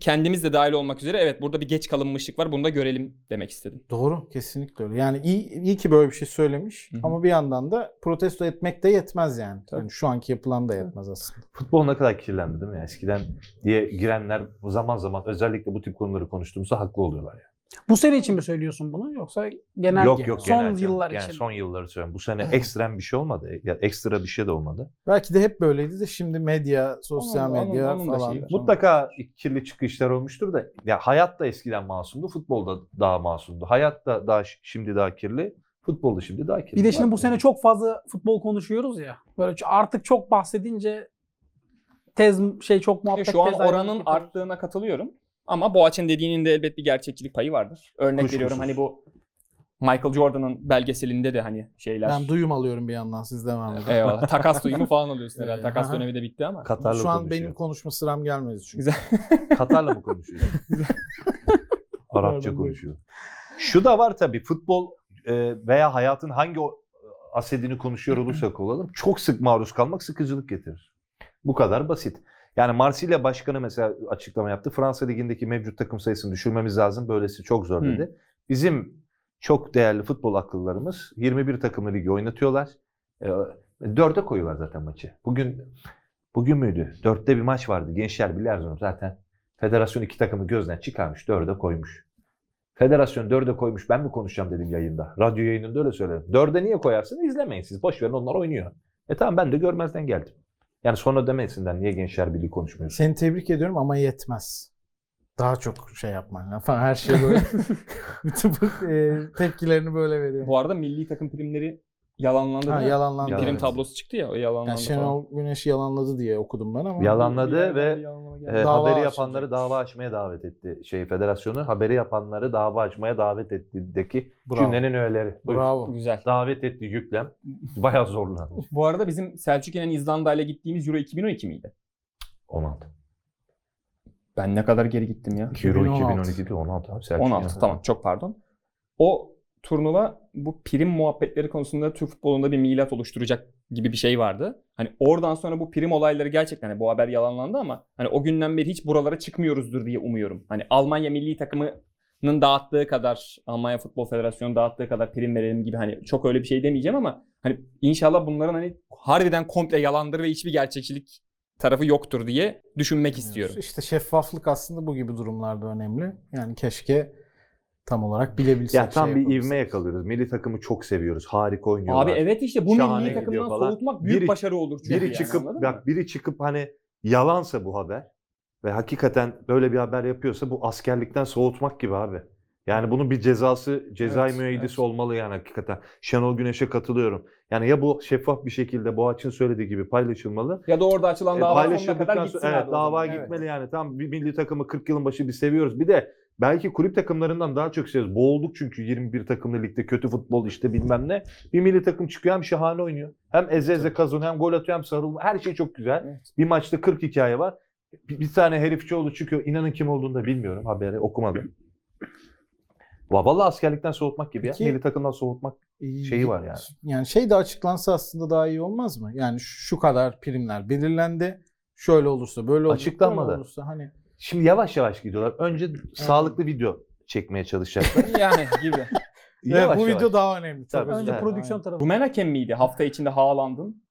kendimiz de dahil olmak üzere evet burada bir geç kalınmışlık var bunu da görelim demek istedim. Doğru. Kesinlikle öyle. Yani iyi, iyi ki böyle bir şey söylemiş. Hı hı. Ama bir yandan da protesto etmek de yetmez yani. Tabii. Yani şu anki yapılan da yetmez aslında. Futbol ne kadar kirlendi değil mi? ya? Eskiden diye girenler zaman zaman özellikle bu tip konuları konuştuğumuzda haklı oluyorlar. Yani. Bu sene için mi söylüyorsun bunu yoksa genel yok yok son genel yıllar yani için? son yılları söylüyorum. Bu sene ekstrem bir şey olmadı. Ya ekstra bir şey de olmadı. Belki de hep böyleydi de şimdi medya, sosyal Onun- onun- medya onun da falan. şeyi var. Mutlaka kirli çıkışlar olmuştur da ya hayat da eskiden masumdu, futbol da daha masumdu. Hayat da daha şi- şimdi daha kirli, futbol da şimdi daha kirli. Bir de şimdi bu sene çok fazla futbol konuşuyoruz ya. Böyle ç- artık çok bahsedince tez şey çok muhabbet Şu an tez ayrılık oranın yapıyoruz. arttığına katılıyorum. Ama Boğaç'ın dediğinin de elbet bir gerçekçilik payı vardır. Örnek Kuşkusuz. veriyorum hani bu Michael Jordan'ın belgeselinde de hani şeyler. Ben duyum alıyorum bir yandan siz devam edin. Eyvallah. Takas duyumu falan alıyorsun herhalde. Ee, Takas aha. dönemi de bitti ama. Katar'la Şu an konuşuyor. benim konuşma sıram gelmedi çünkü. Güzel. Katar'la mı konuşuyor? Arapça Pardon, konuşuyor. Şu da var tabii futbol e, veya hayatın hangi o- e, asedini konuşuyor olursak olalım çok sık maruz kalmak sıkıcılık getirir. Bu kadar basit. Yani Marsilya Başkanı mesela açıklama yaptı. Fransa Ligi'ndeki mevcut takım sayısını düşürmemiz lazım. Böylesi çok zor Hı. dedi. Bizim çok değerli futbol akıllarımız 21 takımlı ligi oynatıyorlar. E, dörde koyuyorlar zaten maçı. Bugün bugün müydü? Dörtte bir maç vardı. Gençler Birliği Erzurum zaten. Federasyon iki takımı gözden çıkarmış. Dörde koymuş. Federasyon dörde koymuş. Ben mi konuşacağım dedim yayında. Radyo yayınında öyle söyledim. Dörde niye koyarsın? İzlemeyin siz. Boş verin onlar oynuyor. E tamam ben de görmezden geldim. Yani sonra demesinden niye Gençler Birliği konuşmuyorsun? Seni tebrik ediyorum ama yetmez. Daha çok şey yapman lazım falan. Her şey böyle. Bütün bu, e, tepkilerini böyle veriyor. Bu arada milli takım primleri yalanlandı. Ha, değil mi? yalanlandı. Bir prim Yalan. tablosu çıktı ya o Yani yalanlandı. falan. Şenol Güneş yalanladı diye okudum ben ama. Yalanladı ve Yalanlama e, geldi. Dava haberi açılacak. yapanları dava açmaya davet etti şey federasyonu. Haberi yapanları dava açmaya davet ettiğindeki Bravo. cümlenin öğeleri. Buyur. Bravo. Güzel. Davet etti yüklem. Bayağı zorlandı. Bu arada bizim Selçuk İnan İzlanda ile gittiğimiz Euro 2012 miydi? 16. Ben ne kadar geri gittim ya. Euro 2016. 2012'de 16 abi. Selçuk 16 İnan. tamam çok pardon. O turnuva bu prim muhabbetleri konusunda Türk futbolunda bir milat oluşturacak gibi bir şey vardı. Hani oradan sonra bu prim olayları gerçekten hani bu haber yalanlandı ama hani o günden beri hiç buralara çıkmıyoruzdur diye umuyorum. Hani Almanya milli takımının dağıttığı kadar Almanya Futbol Federasyonu dağıttığı kadar prim verelim gibi hani çok öyle bir şey demeyeceğim ama hani inşallah bunların hani harbiden komple yalandır ve hiçbir gerçekçilik tarafı yoktur diye düşünmek istiyorum. İşte şeffaflık aslında bu gibi durumlarda önemli. Yani keşke tam olarak bilebilsek. Ya tam şey bir yapabilsek. ivme yakalıyoruz. Milli takımı çok seviyoruz. Harika oynuyorlar. Abi evet işte bu Şahane milli gidiyor takımdan falan. soğutmak büyük Biri- başarı olur çünkü. Biri yani, çıkıp anladın mı? bak biri çıkıp hani yalansa bu haber ve hakikaten böyle bir haber yapıyorsa bu askerlikten soğutmak gibi abi. Yani bunun bir cezası, cezai Evet, müeyyidesi evet. olmalı yani hakikaten. Şenol Güneş'e katılıyorum. Yani ya bu şeffaf bir şekilde Boğaç'ın söylediği gibi paylaşılmalı. Ya da orada açılan E, dava sonuna paylaşıldıktan kadar sonra- gitsin abi evet o davaya zaman. gitmeli yani. Tam bir milli takımı 40 yılın başı biz seviyoruz. Bir de belki kulüp takımlarından daha çok seviyoruz. Boğulduk çünkü 21 takımlı ligde kötü futbol işte bilmem ne. Bir milli takım çıkıyor hem şahane oynuyor. Hem eze eze kazanıyor hem gol atıyor hem sarılma. Her şey çok güzel. Evet. Bir maçta 40 hikaye var. Bir, bir tane herifçioğlu çıkıyor. İnanın kim olduğunu da bilmiyorum. Haberi okumadım. Va- Vallahi askerlikten soğutmak gibi Peki- ya. Milli takımdan soğutmak. İyi. şeyi var yani. Yani şey de açıklansa aslında daha iyi olmaz mı? Yani şu kadar primler belirlendi. Şöyle olursa böyle olursa. Açıklanmadı. böyle Olursa, hani Şimdi yavaş yavaş gidiyorlar. Önce sağlıklı video çekmeye çalışacaklar. Yani gibi. Evet, Yavaş bu yavaş. video daha önemli. Çok Tabii. özür Önce dilerim. Evet. prodüksiyon tarafı. Rumen hakem miydi? Hafta içinde Haaland'ın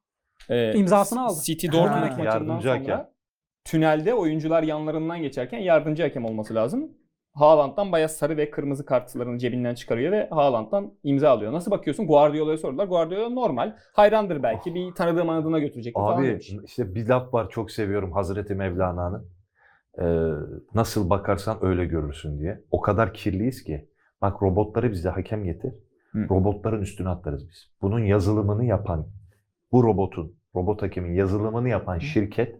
e, İmzasını aldı. City Dortmund Ha. maçından Yardımcı sonra hakem. tünelde oyuncular yanlarından geçerken yardımcı hakem olması lazım. Haaland'dan bayağı sarı ve kırmızı kartlarını cebinden çıkarıyor ve Haaland'dan imza alıyor. Nasıl bakıyorsun? Guardiola'ya sordular. Guardiola normal. Hayrandır belki. Bir tanıdığım anadığına götürecek falan Ah. Abi demiş. işte bir laf var çok seviyorum Hazreti Mevlana'nın. Ee, nasıl bakarsan öyle görürsün diye. O kadar kirliyiz ki. Bak robotları bize hakem getir. Hı. Robotların üstüne atlarız biz. Bunun yazılımını yapan, bu robotun, robot hakemin yazılımını yapan şirket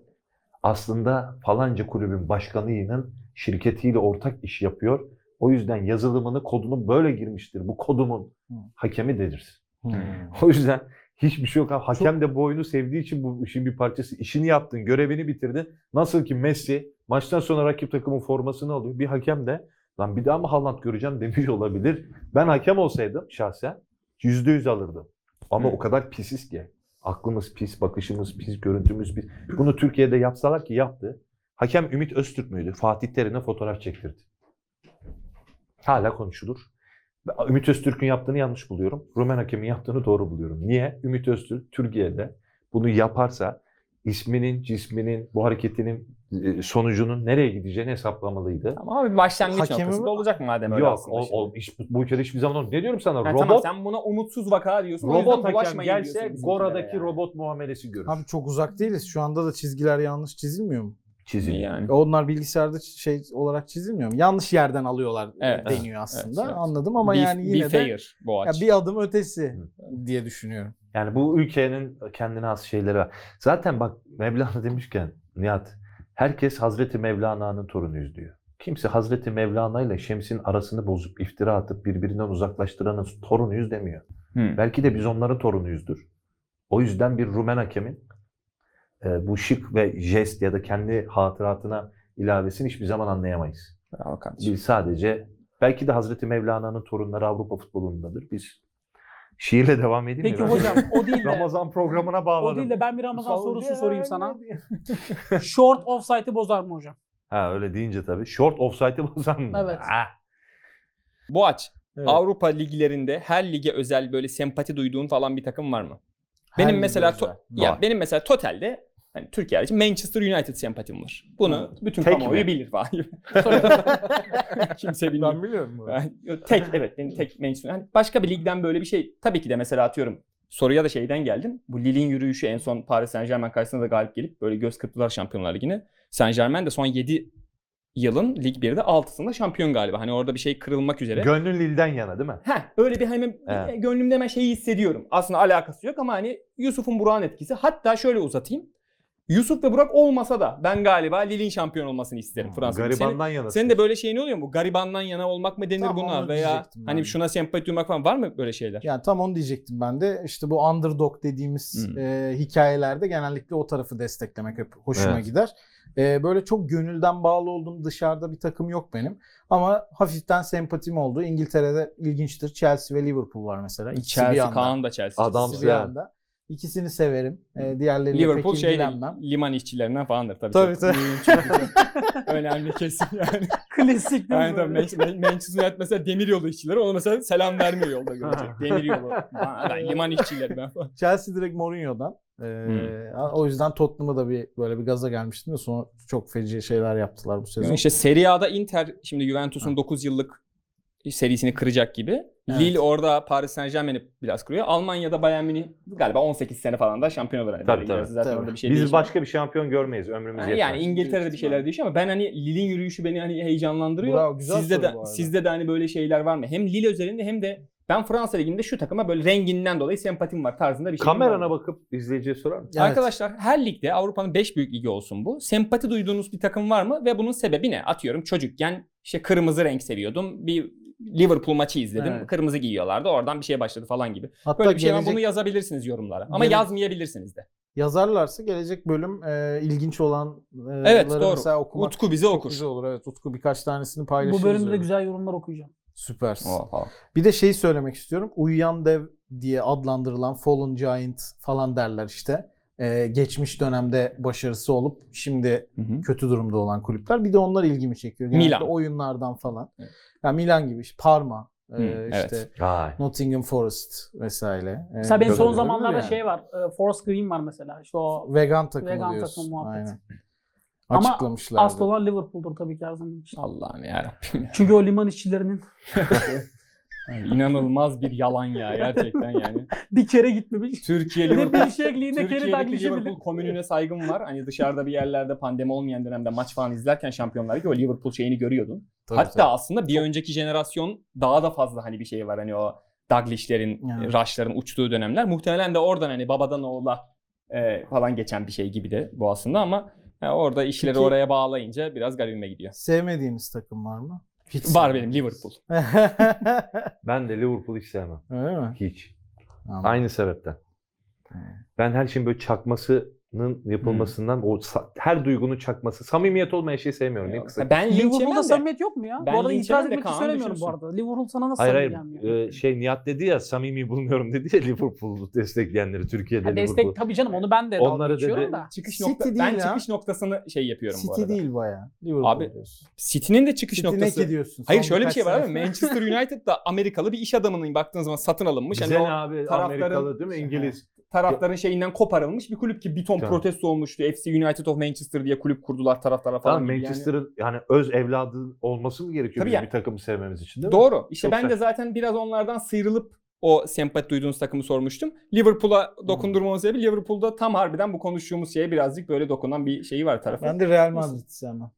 aslında falanca kulübün başkanının şirketiyle ortak iş yapıyor. O yüzden yazılımını, kodunu böyle girmiştir. Bu kodumun Hı. hakemi denir. Hmm. O yüzden hiçbir şey yok. abi. Hakem de bu oyunu sevdiği için bu işin bir parçası. İşini yaptın, görevini bitirdin. Nasıl ki Messi maçtan sonra rakip takımın formasını alıyor. Bir hakem de lan bir daha mı Haaland göreceğim demiş olabilir. Ben hakem olsaydım şahsen yüzde yüz alırdım. Ama Hı. o kadar pisiz ki. Aklımız pis, bakışımız pis, görüntümüz pis. Bunu Türkiye'de yapsalar ki yaptı. Hakem Ümit Öztürk müydü? Fatih Terim'e fotoğraf çektirdi. Hala konuşulur. Ben Ümit Öztürk'ün yaptığını yanlış buluyorum. Rumen hakemin yaptığını doğru buluyorum. Niye? Ümit Öztürk Türkiye'de bunu yaparsa isminin, cisminin, bu hareketinin e, sonucunun nereye gideceğini hesaplamalıydı. Ama abi başlangıç Hakemi noktası mi? da olacak madem öyle Yok, aslında o, şimdi. o, iş- bu ülkede hiçbir zaman olmaz. Ne diyorum sana? Ha, robot tamam, sen buna umutsuz vaka diyorsun. o yüzden robot hakem bulaşmayın gelse diyorsun Gora'daki bizimkilere yani. robot muamelesi görür. Abi çok uzak değiliz. Şu anda da çizgiler yanlış çizilmiyor mu? Çizim. Şey Yani. Onlar bilgisayarda şey olarak çizilmiyor mu? Yanlış yerden alıyorlar Evet. deniyor aslında. evet. Anladım ama Be- yani be yine de fair bu ya aç. bir adım ötesi diye düşünüyorum. Yani bu ülkenin e, kendine has şeyleri var. Zaten bak Mevlana demişken Nihat, herkes Hazreti Mevlana'nın torunuyuz diyor. Kimse Hazreti Mevlana ile Şems'in arasını bozup iftira atıp birbirinden uzaklaştıranın torunuyuz demiyor. Hmm. Belki de biz onların torunuyuzdur. O yüzden bir Rumen hakemin e, bu şık ve jest ya da kendi hatıratına ilavesini hiçbir zaman anlayamayız. Bravo kardeşim. Biz sadece belki de Hazreti Mevlana'nın torunları Avrupa futbolundadır. Biz şiirle devam edeyim Peki mi? hocam o değil de, Ramazan programına o bağladım. değil de ben bir Ramazan sorusu Saudi sorayım sana. Short offside'ı bozar mı hocam? Ha öyle deyince tabii. Short offside'ı bozan mı? Evet. Ha. Boğaç, Evet. Avrupa liglerinde her lige özel böyle sempati duyduğun falan bir takım var mı? Benim Her mesela ligde to- ya benim mesela totalde hani Türkiye için Manchester United sempatim var. Bunu bütün Tek kamuoyu mi? bilir falan. Kimse bilmiyor. Ben biliyorum bunu. Ben- Yok, tek evet benim tek Manchester United. başka bir ligden böyle bir şey tabii ki de mesela atıyorum soruya da şeyden geldim. Bu Lille'in yürüyüşü en son Paris Saint Germain karşısında da galip gelip böyle göz kırptılar Şampiyonlar Ligi'ne. Saint Germain de son 7 yılın Lig 1'de 6'sında şampiyon galiba. Hani orada bir şey kırılmak üzere. Gönlün Lille'den yana değil mi? Heh, öyle bir hemen e, Evet. gönlümde hemen şeyi hissediyorum. Aslında alakası yok ama hani Yusuf'un Burak'ın etkisi. Hatta şöyle uzatayım. Yusuf ve Burak olmasa da ben galiba Lille'in şampiyon olmasını isterim Fransa'da. Senin, Garibandan yana. senin de böyle şeyin oluyor mu? Garibandan yana olmak mı denir Tam buna? onu Veya diyecektim ben hani de. şuna sempati duymak falan var mı böyle şeyler? Yani tam onu diyecektim ben de. İşte bu underdog dediğimiz Hmm. e, hikayelerde genellikle o tarafı desteklemek hep hoşuma Evet. gider. E, böyle çok gönülden bağlı olduğum dışarıda bir takım yok benim. Ama hafiften sempatim oldu. İngiltere'de ilginçtir. Chelsea ve Liverpool var mesela. İkisi bir Hani Chelsea, yanda. Kaan da Chelsea. Adam- İkisi bir yani. yanda. İkisini severim. E, diğerleriyle Liverpool pek şey ilgilenmem. liman işçilerinden falandır tabii. Tabii, Çok- tabii. Çok, çok önemli kesin yani. Klasik değil yani mi? tabii Man- Man- Manchester United mesela demir yolu işçileri ona mesela selam vermiyor yolda görecek. Demir yolu. Ha, ben liman işçileri ben falan. Chelsea direkt Mourinho'dan. E, Hmm. O yüzden Tottenham'a da bir böyle bir gaza gelmiştim de sonra çok feci şeyler yaptılar bu sezon. Yani işte Serie A'da Inter şimdi Juventus'un 9 yıllık serisini kıracak gibi. Evet. Lille orada Paris Saint Germain'i biraz kırıyor. Almanya'da Bayern Münih galiba 18 sene falan da şampiyon olur. herhalde. Tabii, İngilizce tabii. Zaten Tabii. orada bir şey Biz değişmiyor. başka şey bir şampiyon görmeyiz. Ömrümüz Ha, yetmez. Yani İngiltere'de bir şeyler Yani. değişiyor ama ben hani Lille'in yürüyüşü beni hani heyecanlandırıyor. Bravo, güzel sizde soru de bu arada. sizde de hani böyle şeyler var mı? Hem Lille özelinde hem de ben Fransa liginde şu takıma böyle renginden dolayı sempatim var tarzında bir şey. Kamerana bakıp izleyiciye sorar mısın? Evet. Arkadaşlar her ligde Avrupa'nın 5 büyük ligi olsun bu. Sempati duyduğunuz bir takım var mı ve bunun sebebi ne? Atıyorum çocukken işte kırmızı renk seviyordum. Bir Liverpool maçı izledim. Evet. Kırmızı giyiyorlardı. Oradan bir şey başladı falan gibi. Hatta Böyle bir şey var. gelecek- Bunu yazabilirsiniz yorumlara. Ama Gelecek- yazmayabilirsiniz de. yazarlarsa gelecek bölüm e, ilginç olan e, Evet, ları doğru. mesela okumak Utku bize çok okur. güzel olur. Evet Utku birkaç tanesini paylaşırız. Bu bölümde de öyle. güzel yorumlar okuyacağım. Süpersin. Oha. Bir de şey söylemek istiyorum. Uyuyan dev diye adlandırılan Fallen Giant falan derler işte. E, geçmiş dönemde başarısı olup şimdi Hı hı. kötü durumda olan kulüpler. Bir de onlar ilgimi çekiyor. Genelde Milan. oyunlardan falan. Evet. Yani Milan gibi işte Parma, e, Hı, evet. işte Vay. Nottingham Forest vesaire. E, Mesela benim Çok son güzel. zamanlarda Yani. şey var. E, Forest Green var mesela. İşte o vegan takımı Vegan takım diyorsun. muhabbeti. Aynen. Ama Açıklamışlar. asıl olan Liverpool'dur tabii ki her zaman için. Allah'ım yarabbim ya. Çünkü o liman işçilerinin İnanılmaz bir yalan ya gerçekten yani. bir kere gitmemiş. Türkiye Liverpool Liverpool şey- şekliğinde kere Türkiye'deki taklaşabilir. Liverpool komününe saygım var. Hani dışarıda bir yerlerde pandemi olmayan dönemde maç falan izlerken şampiyonlar gibi o Liverpool şeyini görüyordun. Tabii, Hatta tabii. aslında bir önceki jenerasyon daha da fazla hani bir şey var hani o Douglas'lerin, e, Evet. Rush'ların uçtuğu dönemler. Muhtemelen de oradan hani babadan oğula e, falan geçen bir şey gibi de bu aslında ama e, orada işleri Peki- oraya bağlayınca biraz garibime gidiyor. Sevmediğiniz takım var mı? Hiç Var benim Liverpool. Ben de Liverpool'u hiç sevmem. Öyle mi? Hiç. Tamam. Aynı sebepten. Ben her şeyin böyle çakmasının yapılmasından, o sa- her duygunun çakması, samimiyet olmayan şeyi sevmiyorum. En kısa. Ben linç yemem Liverpool'da de. samimiyet yok mu ya? Ben bu arada linç itiraz yemem de etmek hiç Kaan söylemiyorum bu düşünsün. arada. Liverpool sana nasıl Hayır samimi hayır. gelmiyor? Ee, şey Nihat dedi ya samimi bulmuyorum dedi ya Liverpool'u destekleyenleri Türkiye'de Ha, Liverpool. destek tabii canım onu ben de Onları dalga geçiyorum dedi- da. Çıkış City nokta, değil ben ya. çıkış noktasını şey yapıyorum bu City arada. değil baya. Liverpool Abi, diyorsun. City'nin de çıkış City ne noktası. ki diyorsun? Hayır Son şöyle bir birkaç şey var sene- abi. Manchester United'da Amerikalı bir iş adamının baktığınız zaman satın alınmış. Bize Hani ne o abi taraftarın- Amerikalı değil mi İngiliz? taraftarın şeyinden koparılmış bir kulüp ki bir ton Tamam. protesto olmuştu. FC United of Manchester diye kulüp kurdular taraftara falan. Tamam gibi yani. Manchester'ın yani. öz evladı olması mı gerekiyor Tabii bizim yani. bir takımı sevmemiz için değil mi? Doğru. İşte Çok ben de saçma. zaten biraz onlardan sıyrılıp o sempati duyduğunuz takımı sormuştum. Liverpool'a Hmm. dokundurmamın sebebi Liverpool'da tam harbiden bu konuştuğumuz şeye birazcık böyle dokunan bir şeyi var tarafı. Ben de Real Madrid sevmem.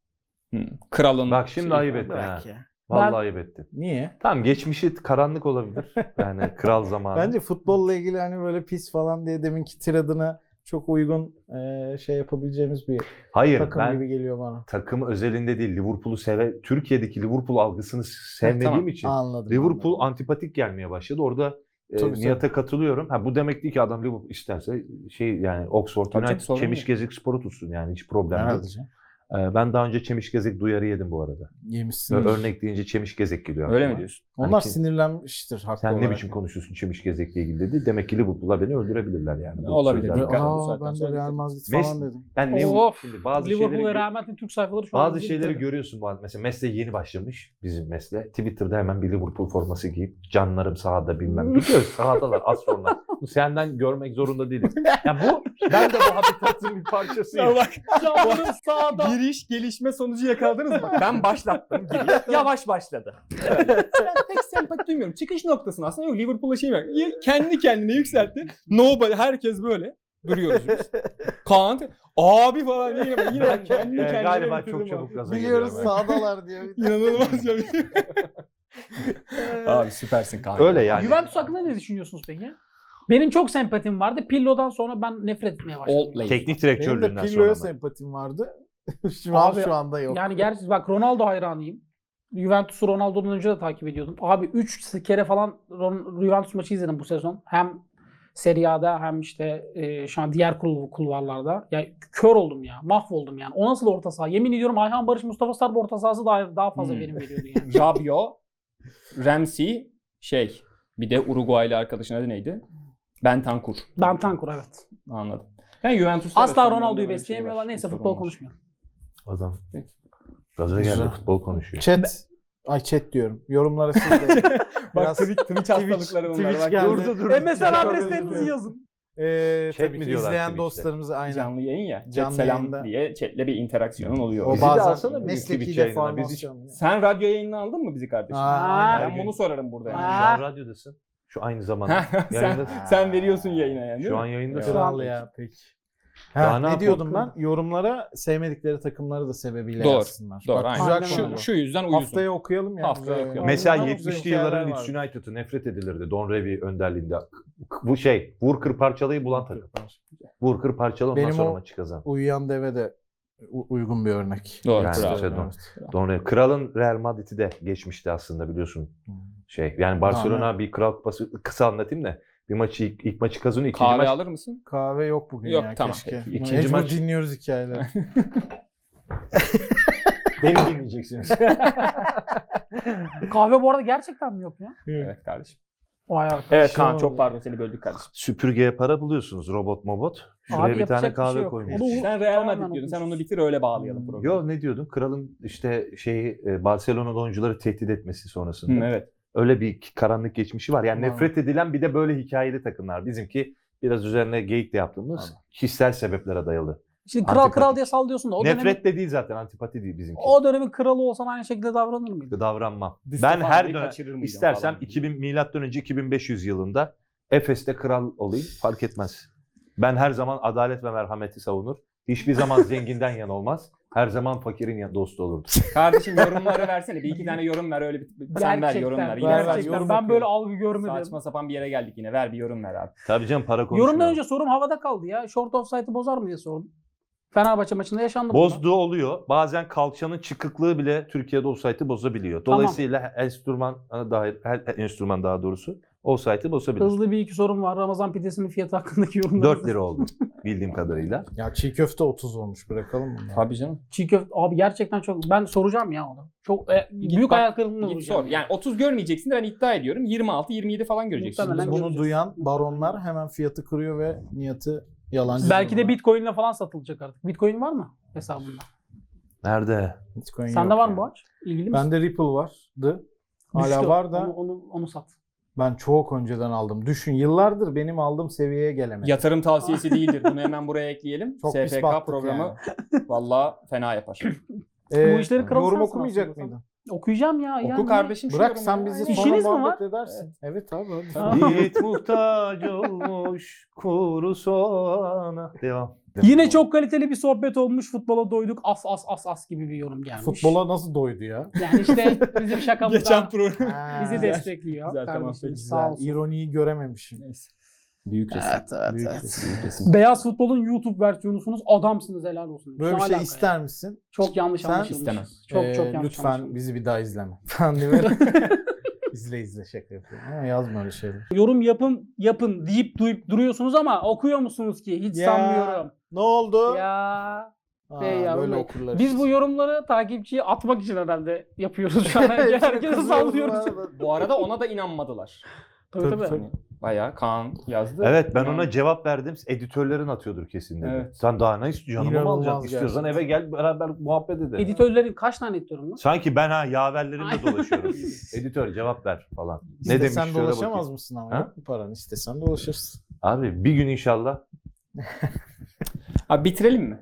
Hı. Kralın. Bak şimdi şeyi- ayıp ettin ha. Bırak ya. Vallahi Ben- ayıp ettin. Niye? Tamam geçmişi karanlık olabilir. Yani kral zamanı. Bence futbolla ilgili hani böyle pis falan diye deminki tiradına çok uygun e, şey yapabileceğimiz bir Hayır takım ben gibi geliyor bana. takım özelinde değil Liverpool'u seve Türkiye'deki Liverpool algısını sevmediğim tamam. için Anladım. Şey, Liverpool anladım. antipatik gelmeye başladı. Orada e, Tabii, Nihat'a katılıyorum. Ha, bu demek değil ki adam Liverpool isterse şey yani Oxford Tabii canım, United sorun yok. Çemişgezik sporu tutsun yani hiç problem yok. Herhalde canım. Ee, ben daha önce Çemişgezik duyarı yedim bu arada. Yemişsiniz. Ö- Örnek deyince Çemişgezek geliyor. Öyle mi aklıma. diyorsun? Onlar Hani kim- sinirlenmiştir haklı Sen ne olarak. biçim konuşuyorsun Çemişgezek'le ilgili dedi. Demek ki Liverpool'lar beni öldürebilirler yani. Bu Olabilir. sözlerden. Dikkat- Bu Aa saatten ben de sonra Real dikkat- Madrid Mes- falan dedim. Ben ne Of. şimdi bazı şeyleri Liverpool'a gö- rahmetli Türk sayfaları şu an bazı bizi- şeyleri görüyorsun bazı mesela mesleğe yeni başlamış bizim mesle. Twitter'da hemen bir Liverpool forması giyip canlarım sahada bilmem. Biliyoruz sahadalar az sonra. Bu senden görmek zorunda değiliz. Yani bu ben de bu habitatın bir parçasıyım. Canlarım sağda. Giriş gelişme sonucu yakaladınız mı? Ben başlattım giriş. Yavaş başladı. ben pek sempati duymuyorum. Çıkış noktasını aslında yok Liverpool'a şey var. Kendi kendine yükseltti. Nobody herkes böyle. Duruyoruz biz. Kaan abi falan yine, yine kendi Ee, kendine galiba bitirdim çok abi. çabuk gaza Biliyoruz geliyorum. sağdalar diye. İnanılmaz ya. abi süpersin Kaan. Öyle yani. Juventus hakkında ne düşünüyorsunuz peki? Benim çok sempatim vardı. Pillo'dan sonra ben nefret etmeye başladım. Old lady. Teknik Benim de direktörlüğünden sonra. Pirlo'ya mı? sempatim vardı. şu an Abi, şu anda yok. Yani gerçi bak Ronaldo hayranıyım. Juventus'u Ronaldo'dan önce de takip ediyordum. Abi 3 kere falan Ron- Juventus maçı izledim bu sezon. Hem Serie A'da hem işte e, şu an diğer kul- kulvarlarda. Ya kör oldum ya. Mahvoldum yani. O nasıl orta saha? Yemin ediyorum Ayhan Barış Mustafa Sarp orta sahası daha, daha fazla Hmm. verim veriyordu yani. Rabio, Ramsey, şey bir de Uruguaylı arkadaşın adı neydi? Bentancur. Bentancur evet. Anladım. Yani Juventus'ta Asla da son Ronaldo'yu dönemde böyle bir şey besleyemiyorlar. var. Neyse Sorun futbol var. konuşmuyor. Adam. Gaza Güzel. geldi futbol konuşuyor. Chat. Ay chat diyorum. Yorumlara siz de. Bak Twitch, Twitch hastalıkları bunlar. Twitch Bak, geldi. MSN adreslerinizi yazın. Ee, Chat tabii mi ki diyorlar izleyen Twitch'te? dostlarımız aynen. Canlı yayın ya. Chat Canlı selam yayında. diye chatle bir interaksiyonun oluyor. O Bizi de bazen alsana bir mesleki Twitch yayınına, biz hiç- deformasyon. ya. Sen radyo yayınını aldın mı bizi kardeşim? Aa, Aa. Her ben gün. bunu sorarım burada Yani yani. şu an radyodasın. Şu aynı zamanda. Ah. sen, Yayında- sen veriyorsun yayına yani. değil Şu mi? an yayındasın. Şu an- Kral ya peki. Daha Ha, ne ne diyordum ben? yapalım? Yorumlara sevmedikleri takımları da sebebiyle Doğru, yazsınlar. Doğru Bak, aynen. Güzel Şu- konu bu. Şu, şu yüzden uyusun. Haftaya okuyalım ya. Haftaya güzel okuyalım. Mesela Ondan güzel 70'li hikayeler yılların var. Leeds United'ı nefret edilirdi Don Revy önderliğinde. K- Bu şey, vur kır parçalayı bulan takım. Vur kır parçala ondan Benim sonra o- maçı kazan. Uyuyan deve de u- uygun bir örnek. Doğru. Yani bravo. işte Don, Evet. Don Revy. Kralın Real Madrid'i de geçmişti aslında biliyorsun. Hmm. Şey, yani Barcelona bir kral kupası, kısa anlatayım da. Bir maçı ilk, ilk maçı kazanıyor, ikinci Kahve maç alır mısın? Kahve yok bugün Yok, ya tamam. keşke. Peki, ikinci Mecbur maç- dinliyoruz hikayeleri. Beni dinleyeceksiniz. Kahve bu arada gerçekten mi yok ya? Evet kardeşim. Vay arkadaş. Evet Kaan Şu- çok pardon seni böldük kardeşim. süpürgeye para buluyorsunuz robot mobot. Şuraya Abi bir tane yapacak bir kahve şey yok. koymuş. Onu- Sen Real Tamamen Madrid diyordun. Sen unutmuşuz. onu bitir öyle bağlayalım programı. Yo ne diyordun? Kralın işte şeyi e, Barcelona'da oyuncuları tehdit etmesi sonrasında. Hı, evet. Öyle bir karanlık geçmişi var. Yani Tamam. nefret edilen bir de böyle hikayeli takımlar. Bizimki biraz üzerine geyik de yaptığımız kişisel sebeplere dayalı. Şimdi kral Antipatik. kral diye sallıyorsun da o nefret dönemin, de değil zaten antipati değil bizimki. o dönemin kralı olsan aynı şekilde davranır mıydın? Davranmam. Mustafa ben her abi dönem kaçırır mıydın istersem falan. 2000 milattan önce 2500 yılında Efes'te kral olayım fark etmez. Ben her zaman adalet ve merhameti savunur. Hiçbir zaman zenginden yan olmaz. Her zaman fakirin ya- dostu olurdu. Kardeşim yorumları versene. Bir iki tane yorum ver öyle bir. Sen ver yorum ver. Yine ver, saçma- yorum gerçekten. Ben okuyorum. böyle algı görmedim. Saçma sapan bir yere geldik yine. Ver bir yorum ver abi. Tabii canım para konuşmuyor. Yorumdan önce sorum havada kaldı ya. Short offside'ı bozar mı diye sordum. Fenerbahçe maçında yaşandı bunlar. Bozduğu oluyor. Bazen kalçanın çıkıklığı bile Türkiye'de offside'ı bozabiliyor. Tamam. Dolayısıyla enstrüman dair her e, enstrüman daha doğrusu offside'ı bozabilir. Hızlı bir iki sorum var. Ramazan pidesinin fiyatı hakkındaki yorumlar. 4 lira oldu bildiğim kadarıyla. ya çiğ köfte 30 olmuş bırakalım bunu. Tabii canım. Çiğ köfte. Abi gerçekten çok. Ben soracağım ya onu. Çok e, büyük bak, ayak kırıklığına Git uğrayacağım. sor. Yani 30 görmeyeceksin de ben iddia ediyorum. 26-27 falan göreceksin. Muhtemelen. Biz bunu göreceğiz. duyan baronlar hemen fiyatı kırıyor ve niyatı yalancı. Belki de diyorlar. Bitcoin'le falan satılacak artık. Bitcoin var mı hesabında? Nerede? Bitcoin Sende yok var mı yani. bu aç? İlgili misin? Bende Ripple vardı. Hala Düştü o. var da Onu, onu, onu sat. ben çok önceden aldım. Düşün yıllardır benim aldığım seviyeye gelemedim. Yatırım tavsiyesi değildir. Bunu hemen buraya ekleyelim. Çok pis SFK battık programı valla fena yapar. Ee, Bu işleri kral Yorum sensin okumayacak aslında. mıydın? Okuyacağım ya. Oku yani. kardeşim şu Bırak yorumu ya. sen bizi Aynen. sonra şey İşiniz mi muhabbet edersin. Evet abi hadi. Ha. Yiğit muhtaç olmuş kuru soğana. Devam. Yine çok kaliteli bir sohbet olmuş. Futbola doyduk. As as as as gibi bir yorum gelmiş. Futbola nasıl doydu ya? Yani işte bizim şakamızdan program. bizi destekliyor. Güzel, tamam, kardeşimiz. peki, Sağ olsun. İroniyi görememişim. Neyse. Büyük resim. Evet, evet, büyük evet. resim. Büyük resim. Beyaz futbolun YouTube versiyonusunuz. Adamsınız helal olsun. Böyle Ne bir şey alaka ya? ister misin? Çok yanlış Sen anlaşılmış. istemem. Çok Ee, çok yanlış Lütfen anlaşılmış. bizi bir daha izleme. Falan diye izle izle şaka yapıyorum. Ama yazma öyle şeyler. Yorum yapın yapın deyip duyup duruyorsunuz ama okuyor musunuz ki? Hiç Ya. sanmıyorum. Ne oldu? Ya. Aa, Ey yavrum böyle ey. okurlar. Biz işte. bu yorumları takipçiye atmak için herhalde yapıyoruz şu an. Hepsini Herkese kızıyoruz sallıyoruz. bu arada. Bu arada ona da inanmadılar. Tabii Tabii, tabii. tabii. Hani bayağı Kaan yazdı. Evet ben İnan- ona cevap verdim. Editörlerin atıyordur kesin dedi. Evet. Sen daha ne istiyorsun? Canımı mı İnanılmaz alacaksın? İstiyorsan eve gel gerçekten. beraber muhabbet edelim. Editörlerin kaç tane editörüm var? Sanki ben ha yaverlerimle Aynen. dolaşıyorum. Editör cevap ver falan. Ne demiş? İstesen Şöyle dolaşamaz bakayım. mısın ama? Ha? Yok mu paran? İstesen dolaşırsın. Abi bir gün inşallah. Abi bitirelim mi?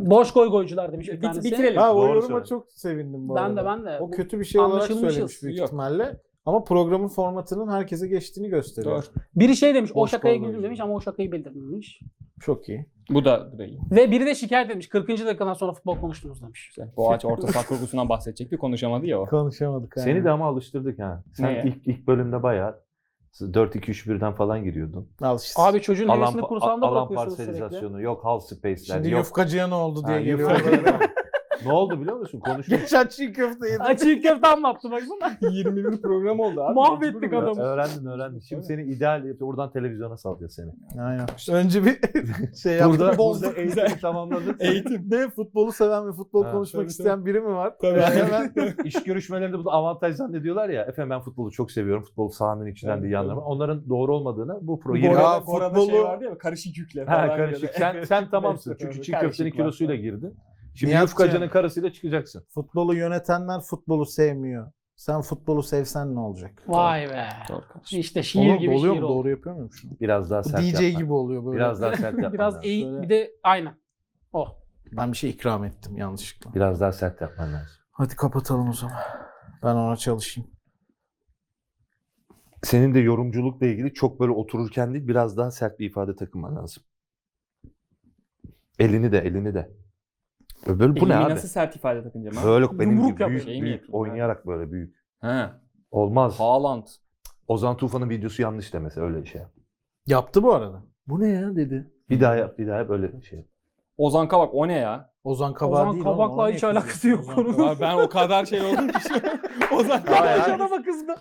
Boş koy koycular demiş bir Bit- tanesi. bitirelim. Ha o Doğru yoruma söyledin. çok sevindim E, bu Ben arada. de ben de. O kötü bir şey olarak Anlaşılmışız. söylemiş büyük Yok. ihtimalle. Ama programın formatının herkese geçtiğini gösteriyor. Doğru. Biri şey demiş o Boş şakaya koy güldüm koycular. demiş ama o şakayı bildirmemiş. Çok iyi. Bu da değil. Ve biri de şikayet etmiş 40. dakikadan sonra futbol konuştunuz demiş. Boğaç orta saha kurgusundan bahsedecekti. Konuşamadı ya o. Konuşamadık. Seni de ama alıştırdık ha. Sen Neye? ilk ilk bölümde bayağı 4-2-3-1'den falan giriyordun. Al işte. Abi çocuğun hevesini pa- kursağında alan bırakıyorsunuz sürekli. parselizasyonu yok, hal space'ler Şimdi yok. yufkacıya ne oldu diye Ha, geliyor. yufka- ne oldu biliyor musun? Konuşma. Geçen çiğ köfte yedim. Açık köfte anlattı baksana. 21 program oldu abi. Mahvettik adamı. öğrendin öğrendin. Şimdi seni ideal oradan televizyona salacağız seni. Aynen. Önce bir şey yaptık. Burada, bozduk. burada eğitimi tamamladık. Eğitim. Ne futbolu seven ve futbol Ha, konuşmak tabii, isteyen biri mi var? Tabii. İş görüşmelerinde bu da avantaj zannediyorlar ya. Efendim ben futbolu çok seviyorum. Futbol sahanın içinden de iyi anlamam. Onların doğru olmadığını bu pro Bu yeni- arada- futbolu- ya karışık yükle Ha böyle. karışık. Sen sen tamamsın. Neyse, Çünkü çiğ karışık köftenin var. kilosuyla girdin. Şimdi Nihat yufkacının Cem. karısıyla çıkacaksın. Futbolu yönetenler futbolu sevmiyor. Sen futbolu sevsen ne olacak? Vay be. Doğru kardeşim. İşte şiir Oğlum, gibi doluyor şiir mu? oldu. Doğru yapıyor muyum şunu? Biraz daha Bu sert DJ yapman. gibi oluyor böyle. Biraz daha sert yapman lazım. Biraz eğ Şöyle- bir de aynen. Oh. Ben bir şey ikram ettim yanlışlıkla. Biraz daha sert yapman lazım. Hadi kapatalım o zaman. Ben ona çalışayım. Senin de yorumculukla ilgili çok böyle otururken değil biraz daha sert bir ifade takınman lazım. Elini de elini de. Böyle bu ne Elimi abi? nasıl sert ifade takınca? abi? Böyle benim Yumruk gibi yap- büyük, Şey mi büyük yapayım? oynayarak böyle büyük. Ha. Olmaz. Haaland. Ozan Tufan'ın videosu yanlış demesi öyle bir şey. yap. Yaptı bu arada. Bu ne ya dedi. Bir daha yap, bir daha yap öyle şey. yap. Ozan Kabak o ne ya? Ozan Kabak Ozan değil. Kabak'la oğlum, ona hiç niye alakası kızıyorsun? yok Ozan konunun. Kabak- Abi ben o kadar şey oldum ki. Ozan Kabak. Kardeş adama kızdı.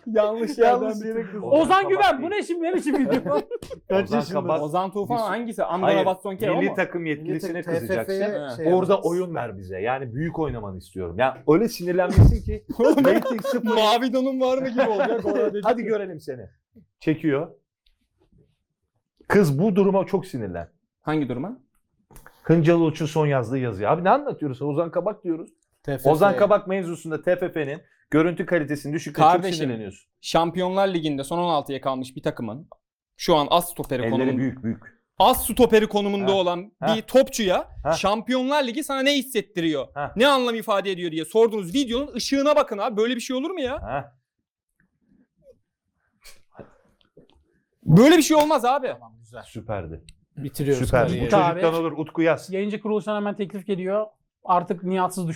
Yanlış Yanlış yerden yere kızdı. Ozan Güven bu ne şimdi ne biçim video? Kaç Ozan yaşında? Kabak- Ozan Tufan Yusuf- hangisi? Angara Hayır, Batson Kere o milli mu? takım Milli yetkilisine takım- kızacaksın. TFF'ye Ha. şey Orada yapamaz. oyun ver bize. Yani büyük oynamanı istiyorum. Yani öyle sinirlenmesin ki rating sıfır. Mavi donum var mı gibi olacak orada. Hadi görelim seni. Çekiyor. Kız bu duruma çok sinirlen. Hangi duruma? Hıncalı Uç'un son yazdığı yazıyor. Abi ne anlatıyoruz? Ozan Kabak diyoruz. TFF. Ozan Kabak mevzusunda TFF'nin görüntü kalitesini düşükte çok Kardeşim, sinirleniyorsun. Şampiyonlar Ligi'nde son 16'ya kalmış bir takımın şu an az stoperi Elleri konumunda, büyük büyük. az stoperi konumunda Ha, olan ha, bir topçuya ha. Şampiyonlar Ligi sana ne hissettiriyor? Ha. Ne anlam ifade ediyor diye sorduğunuz videonun ışığına bakın abi. Böyle bir şey olur mu ya? Ha. Böyle bir şey olmaz abi. Tamam güzel. Süperdi. Bitiriyoruz Süper. Bu kariyeri. Tabii. çocuktan olur Utku Yaz. Yayıncı kuruluştan hemen teklif geliyor. Artık Nihat'sız